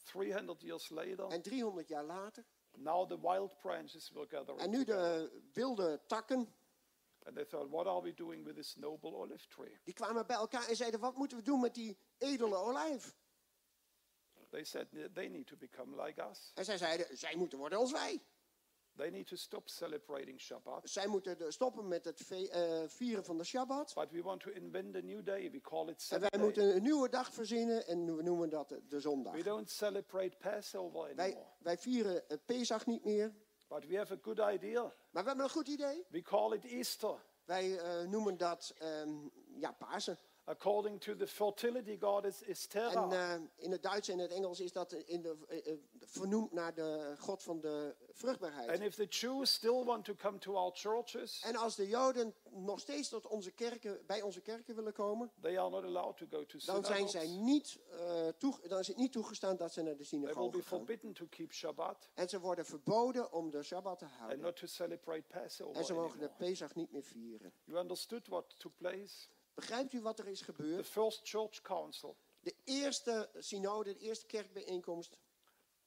[SPEAKER 2] 300 years later,
[SPEAKER 3] En 300 jaar later,
[SPEAKER 2] now the wild branches were
[SPEAKER 3] en
[SPEAKER 2] gathering.
[SPEAKER 3] nu
[SPEAKER 2] together.
[SPEAKER 3] de wilde takken,
[SPEAKER 2] And they thought, what are we doing with this noble olive tree?
[SPEAKER 3] die kwamen bij elkaar en zeiden, wat moeten we doen met die edele olijf?
[SPEAKER 2] They said, they need to become like us.
[SPEAKER 3] En zij zeiden, zij moeten worden als wij.
[SPEAKER 2] They need to stop celebrating Shabbat.
[SPEAKER 3] Zij moeten de- stoppen met het ve- eh, vieren van de Shabbat.
[SPEAKER 2] But we want to invent a new day. We call it
[SPEAKER 3] En wij
[SPEAKER 2] Sunday.
[SPEAKER 3] moeten een nieuwe dag verzinnen en we noemen dat de- de zondag.
[SPEAKER 2] We don't celebrate Passover
[SPEAKER 3] Wij,
[SPEAKER 2] anymore.
[SPEAKER 3] wij vieren het Pesach niet meer,
[SPEAKER 2] But we have a good idea.
[SPEAKER 3] maar we hebben een goed idee.
[SPEAKER 2] We call it Easter.
[SPEAKER 3] Wij eh, noemen dat ehm, ja, Pasen.
[SPEAKER 2] According to the fertility goddess is
[SPEAKER 3] En
[SPEAKER 2] Terra.
[SPEAKER 3] eh, in het Duits en het Engels is dat in de, eh, eh, vernoemd naar de god van de vruchtbaarheid.
[SPEAKER 2] And if the Jews still want to come to our churches,
[SPEAKER 3] En als de Joden nog steeds tot onze kerken, bij onze kerken willen komen,
[SPEAKER 2] they are not allowed to go to
[SPEAKER 3] dan, zijn zij
[SPEAKER 2] synagogues.
[SPEAKER 3] niet, eh, toeg- dan is het niet toegestaan dat ze naar de
[SPEAKER 2] They will be
[SPEAKER 3] synagoge gaan.
[SPEAKER 2] forbidden to keep Shabbat
[SPEAKER 3] En ze worden verboden om de Sabbat te
[SPEAKER 2] and
[SPEAKER 3] houden.
[SPEAKER 2] not to celebrate Passover
[SPEAKER 3] En ze mogen de
[SPEAKER 2] anymore.
[SPEAKER 3] Pesach niet meer vieren.
[SPEAKER 2] You understood what took place?
[SPEAKER 3] Begrijpt u wat er is
[SPEAKER 2] The
[SPEAKER 3] gebeurd?
[SPEAKER 2] first church council,
[SPEAKER 3] De eerste synode, de eerste kerkbijeenkomst,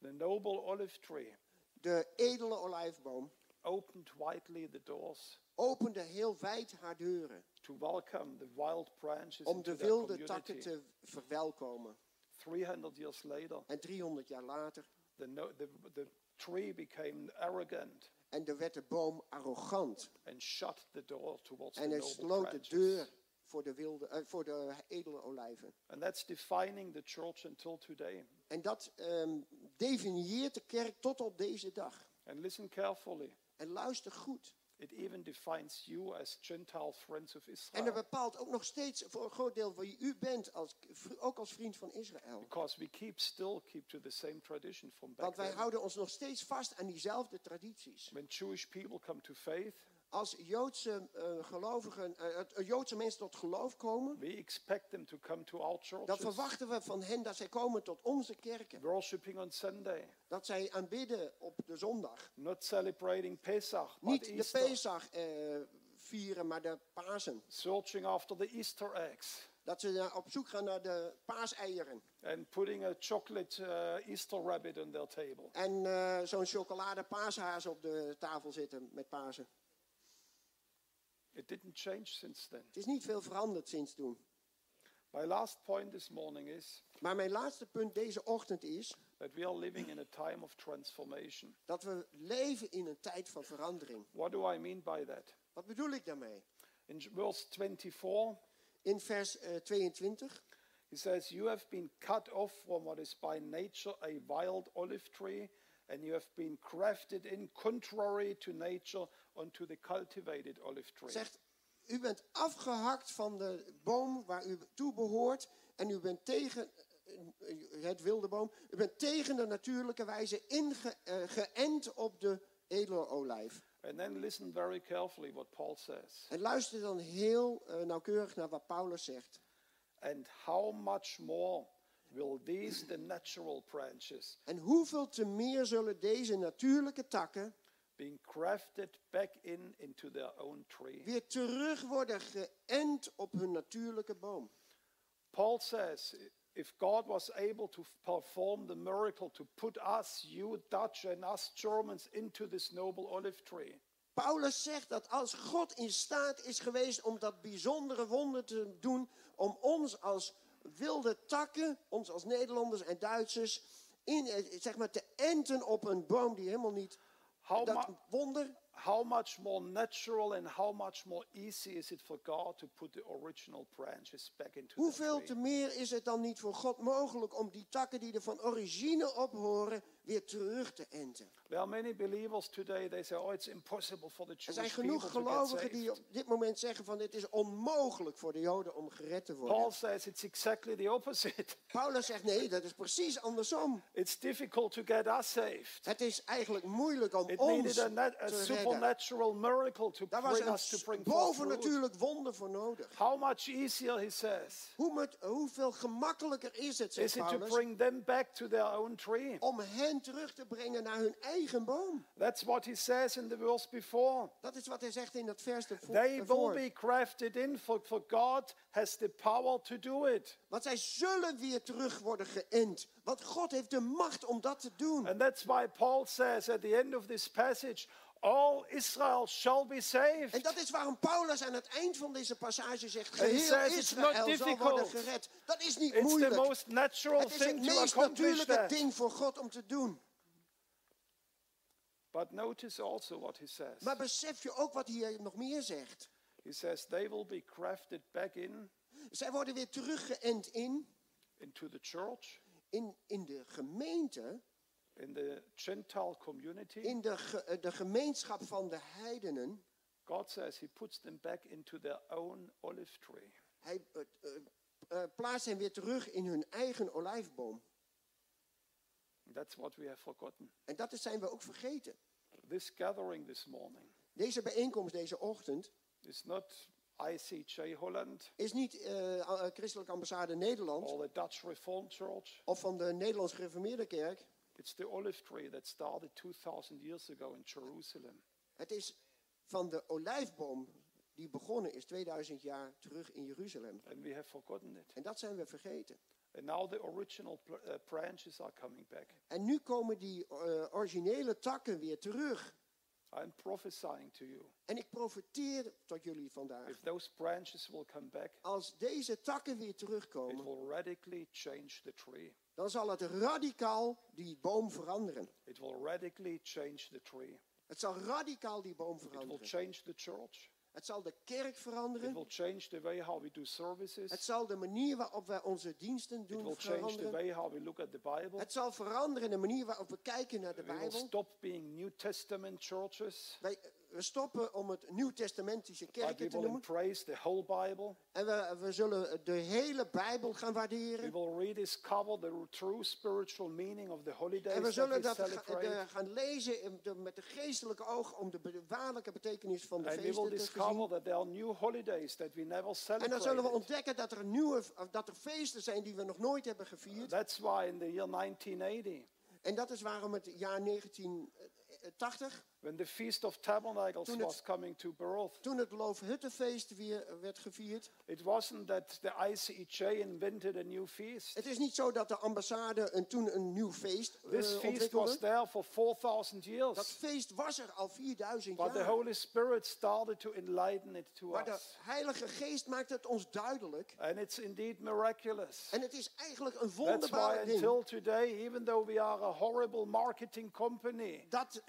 [SPEAKER 2] the noble olive tree,
[SPEAKER 3] de edele olijfboom,
[SPEAKER 2] opened widely the doors
[SPEAKER 3] opende heel wijd haar deuren
[SPEAKER 2] to welcome the wild branches
[SPEAKER 3] om
[SPEAKER 2] into
[SPEAKER 3] de
[SPEAKER 2] their
[SPEAKER 3] wilde takken
[SPEAKER 2] community.
[SPEAKER 3] te verwelkomen.
[SPEAKER 2] 300 years later,
[SPEAKER 3] En 300 jaar later,
[SPEAKER 2] the, no, the, the tree became arrogant
[SPEAKER 3] en er werd de boom arrogant.
[SPEAKER 2] and shut the door towards
[SPEAKER 3] En
[SPEAKER 2] the
[SPEAKER 3] hij
[SPEAKER 2] noble
[SPEAKER 3] sloot de
[SPEAKER 2] branches.
[SPEAKER 3] deur voor de, wilde, eh, voor de edele olijven.
[SPEAKER 2] And that's defining the church until today.
[SPEAKER 3] En dat ehm, definieert de kerk tot op deze dag.
[SPEAKER 2] And listen carefully.
[SPEAKER 3] En luister goed.
[SPEAKER 2] It even defines you as Gentile friends of
[SPEAKER 3] En dat
[SPEAKER 2] Israel.
[SPEAKER 3] bepaalt ook nog steeds voor een groot deel wie u bent, als, ook als vriend van Israël.
[SPEAKER 2] Because we keep still keep to the same tradition from back
[SPEAKER 3] Want wij
[SPEAKER 2] then.
[SPEAKER 3] houden ons nog steeds vast aan diezelfde tradities.
[SPEAKER 2] When Jewish people come to faith,
[SPEAKER 3] Als Joodse, eh, gelovigen, eh, het- eh, Joodse mensen tot geloof komen,
[SPEAKER 2] we expect them to come to our
[SPEAKER 3] dan
[SPEAKER 2] churches,
[SPEAKER 3] verwachten we van hen dat zij komen tot onze kerken.
[SPEAKER 2] worshiping on Sunday,
[SPEAKER 3] Dat zij aanbidden op de zondag.
[SPEAKER 2] not celebrating Pesach, but
[SPEAKER 3] Niet de
[SPEAKER 2] Easter,
[SPEAKER 3] Pesach eh, vieren, maar de Pasen.
[SPEAKER 2] searching after the Easter eggs,
[SPEAKER 3] Dat ze eh, op zoek gaan naar de paaseieren.
[SPEAKER 2] and putting a chocolate uh, Easter rabbit on their table.
[SPEAKER 3] En eh, zo'n chocolade paashaas op de tafel zitten met Pasen.
[SPEAKER 2] It didn't change since then.
[SPEAKER 3] Het is niet veel veranderd sinds toen.
[SPEAKER 2] My last point this morning is
[SPEAKER 3] Maar mijn laatste punt deze ochtend is
[SPEAKER 2] that we are living in a time of transformation.
[SPEAKER 3] dat we leven in een tijd van verandering.
[SPEAKER 2] What do I mean by that?
[SPEAKER 3] Wat bedoel ik daarmee?
[SPEAKER 2] In verse 24,
[SPEAKER 3] In vers eh, 22.
[SPEAKER 2] he says, You have been cut off from what is by nature a wild olive tree, and you have been crafted in contrary to nature unto the cultivated olive tree.
[SPEAKER 3] zegt, u bent afgehakt van de boom waar u toe behoort en u bent tegen eh, het wilde boom, u bent tegen de natuurlijke wijze inge, eh, geënt op de edele olijf.
[SPEAKER 2] And then listen very carefully what Paul says.
[SPEAKER 3] En luister dan heel eh, nauwkeurig naar wat Paulus zegt.
[SPEAKER 2] And how much more will these, the natural branches,
[SPEAKER 3] En hoeveel te meer zullen deze natuurlijke takken
[SPEAKER 2] being crafted back in into their own tree?
[SPEAKER 3] weer terug worden geënt op hun natuurlijke boom.
[SPEAKER 2] Paul says, if God was able to perform the miracle to put us, you Dutch and us Germans, into this noble olive tree,
[SPEAKER 3] Paulus zegt dat als God in staat is geweest om dat bijzondere wonder te doen, om ons als wilde takken, ons als Nederlanders en Duitsers, in, eh, zeg maar te enten op een boom die helemaal niet.
[SPEAKER 2] how,
[SPEAKER 3] dat
[SPEAKER 2] mu-
[SPEAKER 3] wonder,
[SPEAKER 2] how much more natural and how much more easy is it for God to put the original branches back into
[SPEAKER 3] hoeveel
[SPEAKER 2] the
[SPEAKER 3] te
[SPEAKER 2] tree?
[SPEAKER 3] meer is het dan niet voor God mogelijk om die takken die er van origine op horen, weer terug te enten?
[SPEAKER 2] There are many believers today, they say, oh, it's impossible for the
[SPEAKER 3] Er
[SPEAKER 2] Jewish
[SPEAKER 3] zijn
[SPEAKER 2] people
[SPEAKER 3] genoeg
[SPEAKER 2] to get
[SPEAKER 3] gelovigen die
[SPEAKER 2] saved."
[SPEAKER 3] op dit moment zeggen van dit is onmogelijk voor de Joden om gered te
[SPEAKER 2] Paul
[SPEAKER 3] worden.
[SPEAKER 2] says it's exactly the opposite.
[SPEAKER 3] Paulus zegt nee, dat is precies andersom.
[SPEAKER 2] It's difficult to get us saved.
[SPEAKER 3] Het is eigenlijk moeilijk om
[SPEAKER 2] It
[SPEAKER 3] ons
[SPEAKER 2] needed
[SPEAKER 3] te
[SPEAKER 2] a, nat- a
[SPEAKER 3] redden.
[SPEAKER 2] supernatural miracle to
[SPEAKER 3] Daar was
[SPEAKER 2] bring us to
[SPEAKER 3] een
[SPEAKER 2] bring forth fruit.
[SPEAKER 3] bovennatuurlijk wonder voor nodig.
[SPEAKER 2] How much easier, he says,
[SPEAKER 3] Hoe met, hoeveel gemakkelijker is het, zegt
[SPEAKER 2] is it to
[SPEAKER 3] Paulus,
[SPEAKER 2] bring them back to their own tree?
[SPEAKER 3] om hen terug te brengen naar hun eigen boom.
[SPEAKER 2] That's what he says in the verse before.
[SPEAKER 3] Dat is wat hij zegt in dat vers ervo-
[SPEAKER 2] They will
[SPEAKER 3] ervoor.
[SPEAKER 2] be crafted in, for, for God has the power to do it.
[SPEAKER 3] Want zij zullen weer terug worden geënt. Want God heeft de macht om dat te doen.
[SPEAKER 2] And that's why Paul says at the end of this passage, all Israel shall be saved.
[SPEAKER 3] En dat is waarom Paulus aan het eind van deze passage zegt...
[SPEAKER 2] he
[SPEAKER 3] Geheel
[SPEAKER 2] says it's not
[SPEAKER 3] Israël zal worden
[SPEAKER 2] difficult.
[SPEAKER 3] gered. Dat is niet
[SPEAKER 2] It's the
[SPEAKER 3] moeilijk.
[SPEAKER 2] most natural
[SPEAKER 3] Het is het
[SPEAKER 2] thing to
[SPEAKER 3] meest
[SPEAKER 2] accomplish
[SPEAKER 3] natuurlijke
[SPEAKER 2] that.
[SPEAKER 3] ding voor God om te doen.
[SPEAKER 2] But notice also what he says.
[SPEAKER 3] Maar besef je ook wat hier nog meer zegt?
[SPEAKER 2] He says they will be crafted back in
[SPEAKER 3] Zij worden weer teruggeënt in,
[SPEAKER 2] into the church,
[SPEAKER 3] in, in de gemeente,
[SPEAKER 2] in the Gentile community,
[SPEAKER 3] in de, ge- eh, de gemeenschap van de heidenen,
[SPEAKER 2] God says he puts them back into their own olive tree.
[SPEAKER 3] Hij eh, eh, eh, plaatst hen weer terug in hun eigen olijfboom.
[SPEAKER 2] That's what we have forgotten.
[SPEAKER 3] En dat is- zijn we ook vergeten.
[SPEAKER 2] This gathering this morning
[SPEAKER 3] Deze bijeenkomst deze ochtend
[SPEAKER 2] is not ICJ Holland
[SPEAKER 3] is niet eh, a- eh, Christelijke Ambassade Nederland
[SPEAKER 2] or the Dutch Reformed Church.
[SPEAKER 3] of van de Nederlands Gereformeerde Kerk.
[SPEAKER 2] It's the olive tree that started 2,000 years ago in Jerusalem.
[SPEAKER 3] Het is van de olijfboom die begonnen is 2000 jaar terug in Jeruzalem.
[SPEAKER 2] And we have forgotten it.
[SPEAKER 3] En dat zijn we vergeten.
[SPEAKER 2] And now the original pl- uh, branches are coming back.
[SPEAKER 3] En nu komen die eh, originele takken weer terug.
[SPEAKER 2] I'm prophesying to you.
[SPEAKER 3] En ik profiteer tot jullie vandaag.
[SPEAKER 2] If those branches will come back,
[SPEAKER 3] Als deze takken weer
[SPEAKER 2] it
[SPEAKER 3] terugkomen,
[SPEAKER 2] will radically change the tree.
[SPEAKER 3] dan zal het radicaal die boom veranderen.
[SPEAKER 2] It will radically change the tree.
[SPEAKER 3] Het zal radicaal die boom
[SPEAKER 2] It will
[SPEAKER 3] veranderen.
[SPEAKER 2] change the church.
[SPEAKER 3] Het zal de kerk
[SPEAKER 2] It will
[SPEAKER 3] veranderen.
[SPEAKER 2] change the way how we do services.
[SPEAKER 3] Het
[SPEAKER 2] It
[SPEAKER 3] zal de manier waarop wij onze diensten
[SPEAKER 2] will
[SPEAKER 3] doen
[SPEAKER 2] change the
[SPEAKER 3] veranderen.
[SPEAKER 2] way how we look at the Bible.
[SPEAKER 3] Het zal veranderen in de manier waarop we kijken naar de
[SPEAKER 2] We will
[SPEAKER 3] Bijbel.
[SPEAKER 2] stop being New Testament churches.
[SPEAKER 3] Wij we stoppen om het Nieuw-testamentische
[SPEAKER 2] But we
[SPEAKER 3] kerken te
[SPEAKER 2] will
[SPEAKER 3] noemen.
[SPEAKER 2] embrace the whole Bible.
[SPEAKER 3] En we, we zullen de hele Bijbel gaan
[SPEAKER 2] We
[SPEAKER 3] waarderen.
[SPEAKER 2] will rediscover the true spiritual meaning of the holidays
[SPEAKER 3] En we zullen dat
[SPEAKER 2] that we
[SPEAKER 3] ga-
[SPEAKER 2] celebrate.
[SPEAKER 3] de- gaan lezen in de- met de geestelijke oog om de be- waarlijke betekenis van de
[SPEAKER 2] and we dus will
[SPEAKER 3] feesten te zien.
[SPEAKER 2] discover that there are new holidays that we never
[SPEAKER 3] En dan zullen we
[SPEAKER 2] celebrated.
[SPEAKER 3] ontdekken dat er, nieuwe, of dat er feesten zijn die we nog nooit hebben gevierd.
[SPEAKER 2] That's why in the year 1980,
[SPEAKER 3] En dat is waarom het jaar 1980,
[SPEAKER 2] when the Feast of Tabernacles
[SPEAKER 3] Toen het-
[SPEAKER 2] was coming to birth,
[SPEAKER 3] toen het Loofhuttenfeest weer werd gevierd.
[SPEAKER 2] it wasn't that the ICEJ invented a new feast.
[SPEAKER 3] Het is niet zo dat de ambassade een, toen een nieuw feest eh,
[SPEAKER 2] This feast was
[SPEAKER 3] ontwikkelde.
[SPEAKER 2] there for 4,000
[SPEAKER 3] Dat
[SPEAKER 2] years,
[SPEAKER 3] feest was er al 4000
[SPEAKER 2] but the
[SPEAKER 3] jaar.
[SPEAKER 2] Holy Spirit started to enlighten it to
[SPEAKER 3] Maar de
[SPEAKER 2] us.
[SPEAKER 3] Heilige Geest maakt het ons duidelijk.
[SPEAKER 2] And it's indeed miraculous.
[SPEAKER 3] En het is eigenlijk een
[SPEAKER 2] That's why
[SPEAKER 3] wonderbare ding.
[SPEAKER 2] until today, even though we are a horrible marketing company,
[SPEAKER 3] Dat,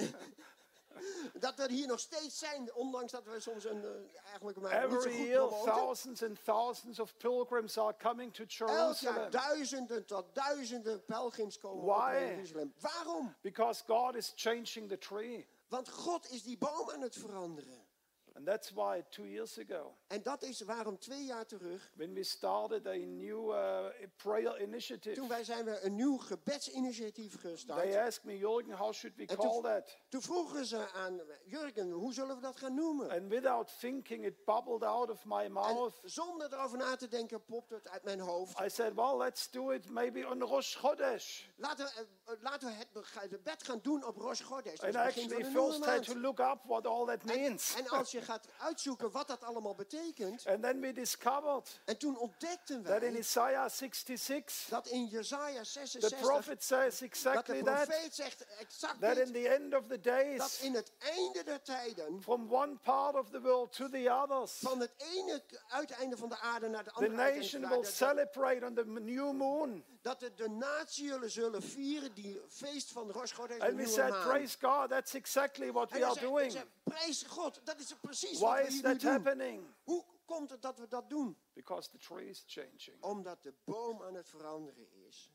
[SPEAKER 3] dat we hier nog steeds zijn, ondanks dat we soms een, eh, eigenlijk maar niet zo
[SPEAKER 2] every
[SPEAKER 3] goed
[SPEAKER 2] year
[SPEAKER 3] promoten.
[SPEAKER 2] thousands and thousands of pilgrims are coming to
[SPEAKER 3] Elk jaar
[SPEAKER 2] Jerusalem
[SPEAKER 3] duizenden tot duizenden pelgrims komen op
[SPEAKER 2] Why?
[SPEAKER 3] naar Jeruzalem. Waarom?
[SPEAKER 2] because God is changing the tree.
[SPEAKER 3] Want God is die boom aan het veranderen.
[SPEAKER 2] And that's why two years ago,
[SPEAKER 3] En dat is waarom twee jaar terug,
[SPEAKER 2] when we started a new uh, prayer initiative,
[SPEAKER 3] toen wij zijn we een nieuw gebedsinitiatief
[SPEAKER 2] they
[SPEAKER 3] gestart.
[SPEAKER 2] asked me, Jorgen, how should we
[SPEAKER 3] En
[SPEAKER 2] call
[SPEAKER 3] toen,
[SPEAKER 2] that?
[SPEAKER 3] toen vroegen ze aan Jurgen, hoe zullen we dat gaan noemen?
[SPEAKER 2] And without thinking, it bubbled out of my
[SPEAKER 3] En
[SPEAKER 2] mouth.
[SPEAKER 3] zonder erover na te denken popt het uit mijn hoofd.
[SPEAKER 2] I said, well, let's do it maybe on Rosh Chodesh.
[SPEAKER 3] Laten we, eh, eh, laten we het bega- debat gaan doen op Rosh Chodesh. Dat
[SPEAKER 2] And
[SPEAKER 3] is
[SPEAKER 2] I
[SPEAKER 3] het begin
[SPEAKER 2] actually
[SPEAKER 3] van de nieuwe
[SPEAKER 2] first had
[SPEAKER 3] maand.
[SPEAKER 2] to look up what all that means.
[SPEAKER 3] En als je gaat uitzoeken wat dat allemaal betekent.
[SPEAKER 2] And then we discovered
[SPEAKER 3] En toen ontdekten
[SPEAKER 2] that in
[SPEAKER 3] wij
[SPEAKER 2] Isaiah 66,
[SPEAKER 3] dat in Jezaja
[SPEAKER 2] the
[SPEAKER 3] 66,
[SPEAKER 2] prophet says
[SPEAKER 3] dat de
[SPEAKER 2] exactly that,
[SPEAKER 3] profeet zegt exact
[SPEAKER 2] that in
[SPEAKER 3] dit,
[SPEAKER 2] the end of the
[SPEAKER 3] dat
[SPEAKER 2] days,
[SPEAKER 3] in het einde der tijden,
[SPEAKER 2] from one part of the world to the others,
[SPEAKER 3] van het ene k- uiteinde van de aarde naar de
[SPEAKER 2] the
[SPEAKER 3] andere uiteinde van de
[SPEAKER 2] nation will
[SPEAKER 3] aarde, dat-
[SPEAKER 2] celebrate on the m- new moon.
[SPEAKER 3] dat de, de natie jullie zullen vieren die feest van Rosh Chodesh, de
[SPEAKER 2] And we
[SPEAKER 3] nieuwe
[SPEAKER 2] said,
[SPEAKER 3] maan.
[SPEAKER 2] praise God, that's exactly what
[SPEAKER 3] En
[SPEAKER 2] we
[SPEAKER 3] dan
[SPEAKER 2] are
[SPEAKER 3] zei-
[SPEAKER 2] doing.
[SPEAKER 3] zei, Prijs God, dat is
[SPEAKER 2] Why
[SPEAKER 3] precies wat we
[SPEAKER 2] is
[SPEAKER 3] hier
[SPEAKER 2] that
[SPEAKER 3] nu doen.
[SPEAKER 2] happening?
[SPEAKER 3] Hoe komt het dat we dat doen?
[SPEAKER 2] Because the tree is changing.
[SPEAKER 3] Omdat de boom aan het veranderen is.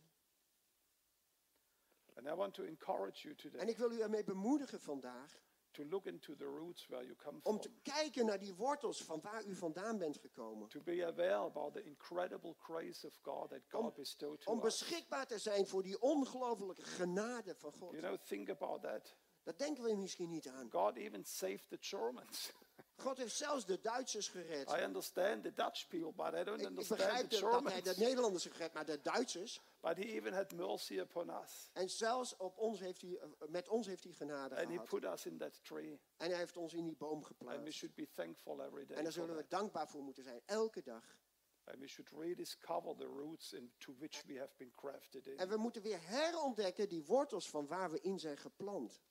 [SPEAKER 2] And I want to encourage you
[SPEAKER 3] En
[SPEAKER 2] today
[SPEAKER 3] ik wil u ermee bemoedigen vandaag
[SPEAKER 2] to look into the roots where you come
[SPEAKER 3] om
[SPEAKER 2] from,
[SPEAKER 3] te kijken naar die wortels van waar u vandaan bent gekomen.
[SPEAKER 2] to be aware about the incredible grace of God that God bestowed
[SPEAKER 3] Om
[SPEAKER 2] to us.
[SPEAKER 3] beschikbaar te zijn voor die ongelooflijke genade van God.
[SPEAKER 2] You know, think about that.
[SPEAKER 3] Dat denken we misschien niet aan.
[SPEAKER 2] God even saved the Germans.
[SPEAKER 3] God heeft zelfs de Duitsers gered.
[SPEAKER 2] I understand the Dutch people, but I don't
[SPEAKER 3] Ik, ik
[SPEAKER 2] understand
[SPEAKER 3] begrijp
[SPEAKER 2] the
[SPEAKER 3] Ah, dat- dat hij de
[SPEAKER 2] Germans.
[SPEAKER 3] Nederlanders gered, maar de Duitsers.
[SPEAKER 2] But he even had mercy upon us.
[SPEAKER 3] En zelfs op ons heeft hij, eh, met ons heeft hij genade
[SPEAKER 2] And he
[SPEAKER 3] gehad.
[SPEAKER 2] put us in that tree.
[SPEAKER 3] En hij heeft ons in die boom
[SPEAKER 2] And we
[SPEAKER 3] geplaatst.
[SPEAKER 2] should be thankful every day.
[SPEAKER 3] En daar
[SPEAKER 2] for
[SPEAKER 3] zullen we
[SPEAKER 2] that.
[SPEAKER 3] dankbaar voor moeten zijn, elke dag.
[SPEAKER 2] And we should rediscover the roots into which we have been crafted
[SPEAKER 3] En
[SPEAKER 2] in.
[SPEAKER 3] we moeten weer herontdekken die wortels van waar we in zijn geplant.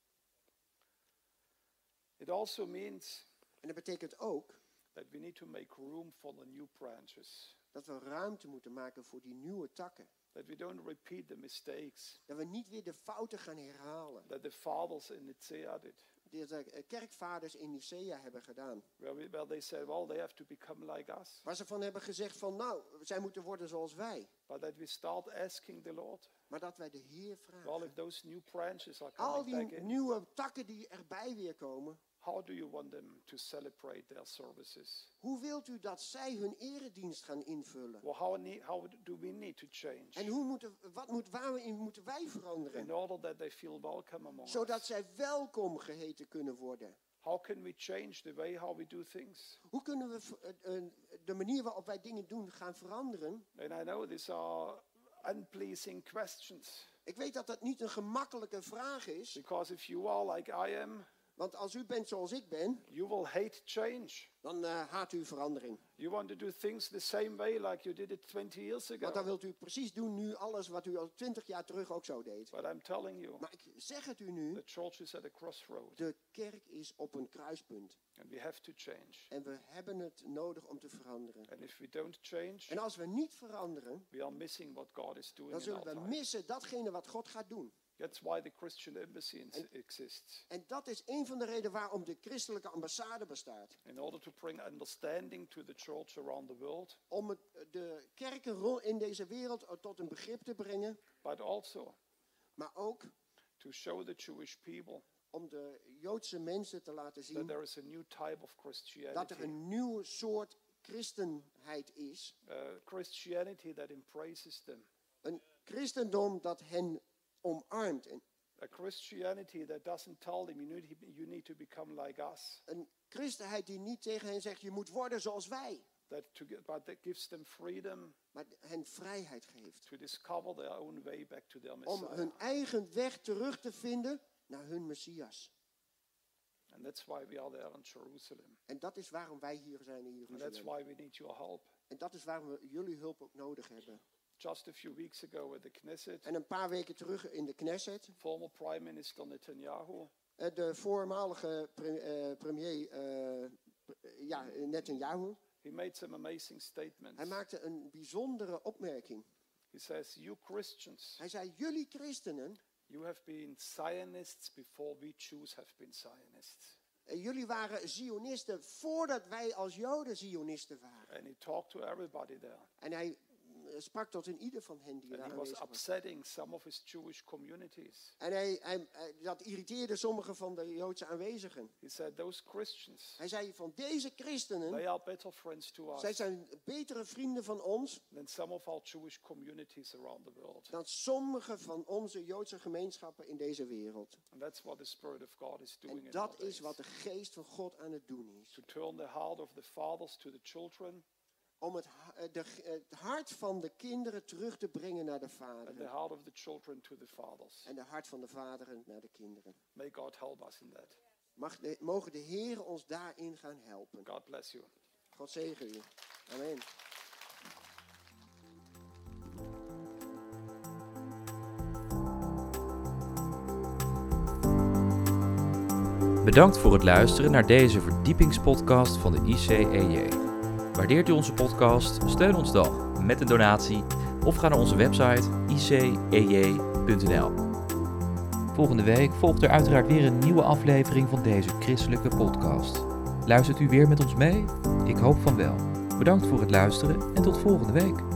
[SPEAKER 2] It also means
[SPEAKER 3] En dat betekent ook
[SPEAKER 2] that we need to make room for the new branches,
[SPEAKER 3] dat we ruimte moeten maken voor die nieuwe takken.
[SPEAKER 2] that we don't repeat the mistakes
[SPEAKER 3] Dat we niet weer de fouten gaan herhalen.
[SPEAKER 2] that the fathers in Nicaea did,
[SPEAKER 3] Die de eh, kerkvaders in Nicea hebben gedaan.
[SPEAKER 2] where, we, where they said, well, they have to become like us.
[SPEAKER 3] Waar ze van hebben gezegd van nou, zij moeten worden zoals wij.
[SPEAKER 2] But that we start asking the Lord,
[SPEAKER 3] Maar dat wij de Heer vragen.
[SPEAKER 2] Well, if those new branches are
[SPEAKER 3] Al
[SPEAKER 2] coming back
[SPEAKER 3] die
[SPEAKER 2] in,
[SPEAKER 3] nieuwe takken die erbij weer komen.
[SPEAKER 2] How do you want them to celebrate their services?
[SPEAKER 3] Hoe wilt u dat zij hun eredienst gaan invullen?
[SPEAKER 2] Well, how, nee- how do we need to change
[SPEAKER 3] En hoe moeten, wat moet, waarin moeten wij veranderen?
[SPEAKER 2] in order that they feel welcome among
[SPEAKER 3] Zodat
[SPEAKER 2] us?
[SPEAKER 3] zij welkom geheten kunnen worden.
[SPEAKER 2] How can we change the way how we do things?
[SPEAKER 3] Hoe kunnen we ver- eh, eh, de manier waarop wij dingen doen gaan veranderen?
[SPEAKER 2] And I know these are unpleasing questions
[SPEAKER 3] Ik weet dat dat niet een gemakkelijke vraag is.
[SPEAKER 2] because if you are like I am,
[SPEAKER 3] Want als u bent zoals ik ben,
[SPEAKER 2] you will hate change.
[SPEAKER 3] dan eh, haat u verandering.
[SPEAKER 2] You want to do things the same way like you did it 20 years ago.
[SPEAKER 3] Want dan wilt u precies doen nu alles wat u al twintig jaar terug ook zo deed.
[SPEAKER 2] But I'm telling you,
[SPEAKER 3] Maar ik zeg het u
[SPEAKER 2] the
[SPEAKER 3] nu,
[SPEAKER 2] church is at a crossroad
[SPEAKER 3] de kerk is op een kruispunt.
[SPEAKER 2] and we have to change.
[SPEAKER 3] En we hebben het nodig om te veranderen.
[SPEAKER 2] And if we don't change,
[SPEAKER 3] En als we niet veranderen,
[SPEAKER 2] we are missing what God is doing
[SPEAKER 3] dan
[SPEAKER 2] in
[SPEAKER 3] zullen
[SPEAKER 2] our
[SPEAKER 3] we
[SPEAKER 2] time.
[SPEAKER 3] missen datgene wat God gaat doen.
[SPEAKER 2] That's why the Christian embassy ins- exists,
[SPEAKER 3] En dat is een van de redenen waarom de christelijke ambassade bestaat.
[SPEAKER 2] in order to bring understanding to the church around the world,
[SPEAKER 3] Om het, de kerkenrol in deze wereld eh, tot een begrip te brengen,
[SPEAKER 2] but also
[SPEAKER 3] maar ook
[SPEAKER 2] to show the Jewish people
[SPEAKER 3] om de Joodse mensen te laten
[SPEAKER 2] that
[SPEAKER 3] zien
[SPEAKER 2] there is a new type of
[SPEAKER 3] dat er
[SPEAKER 2] Christianity,
[SPEAKER 3] een nieuwe soort christenheid is.
[SPEAKER 2] uh, Christianity that embraces them,
[SPEAKER 3] Een christendom dat hen omarmt. En
[SPEAKER 2] a Christianity that doesn't tell them you need, you need to become like us,
[SPEAKER 3] een christenheid die niet tegen hen zegt, je moet worden zoals wij.
[SPEAKER 2] that to get, but that gives them freedom
[SPEAKER 3] Maar hen vrijheid geeft.
[SPEAKER 2] to discover their own way back to their
[SPEAKER 3] Om
[SPEAKER 2] Messiah.
[SPEAKER 3] hun eigen weg terug te vinden naar hun Messias.
[SPEAKER 2] And that's why we are there in Jerusalem.
[SPEAKER 3] En dat is waarom wij hier zijn in
[SPEAKER 2] And that's
[SPEAKER 3] Jeruzalem.
[SPEAKER 2] why we need your help.
[SPEAKER 3] En dat is waarom we jullie hulp ook nodig hebben.
[SPEAKER 2] Just a few weeks ago at the Knesset,
[SPEAKER 3] En een paar weken terug in de Knesset,
[SPEAKER 2] former Prime Minister Netanyahu
[SPEAKER 3] eh, de voormalige pre- eh, premier eh, pre- ja, Netanyahu,
[SPEAKER 2] he made some amazing
[SPEAKER 3] hij
[SPEAKER 2] statements.
[SPEAKER 3] maakte een bijzondere opmerking.
[SPEAKER 2] He says, "You Christians,
[SPEAKER 3] Hij zei, jullie christenen,
[SPEAKER 2] you have been Zionists before we Jews have been Zionists."
[SPEAKER 3] eh, jullie waren Zionisten voordat wij als Joden Zionisten waren.
[SPEAKER 2] And he talked to everybody there.
[SPEAKER 3] En hij mm, sprak tot in ieder van hen die
[SPEAKER 2] And
[SPEAKER 3] daar
[SPEAKER 2] he was
[SPEAKER 3] aanwezig was.
[SPEAKER 2] upsetting some of his Jewish communities.
[SPEAKER 3] En hij, hij, hij- dat irriteerde sommige van de Joodse aanwezigen.
[SPEAKER 2] He said, "Those Christians,
[SPEAKER 3] Hij zei van deze christenen,
[SPEAKER 2] they are better friends to us
[SPEAKER 3] zij zijn betere vrienden van ons
[SPEAKER 2] than some of our Jewish communities around the world."
[SPEAKER 3] dan sommige van onze Joodse gemeenschappen in deze wereld.
[SPEAKER 2] And that's what the Spirit of God is doing
[SPEAKER 3] En
[SPEAKER 2] in our
[SPEAKER 3] dat is
[SPEAKER 2] days.
[SPEAKER 3] wat de geest van God aan het doen is.
[SPEAKER 2] to turn the heart of the fathers to the children
[SPEAKER 3] Om het, ha- eh, de, het hart van de kinderen terug te brengen naar de
[SPEAKER 2] and the
[SPEAKER 3] vaderen.
[SPEAKER 2] heart of the children to the fathers.
[SPEAKER 3] En de hart van de vaderen naar de kinderen.
[SPEAKER 2] May God help us in that.
[SPEAKER 3] Mag de, mogen de Heeren ons daarin gaan helpen.
[SPEAKER 2] God bless you.
[SPEAKER 3] God zegen u. Amen.
[SPEAKER 1] Bedankt voor het luisteren naar deze verdiepingspodcast van de ICEJ. Waardeert u onze podcast? Steun ons dan met een donatie of ga naar onze website E icej.nl. Volgende week volgt er uiteraard weer een nieuwe aflevering van deze christelijke podcast. Luistert u weer met ons mee? Ik hoop van wel. Bedankt voor het luisteren en tot volgende week.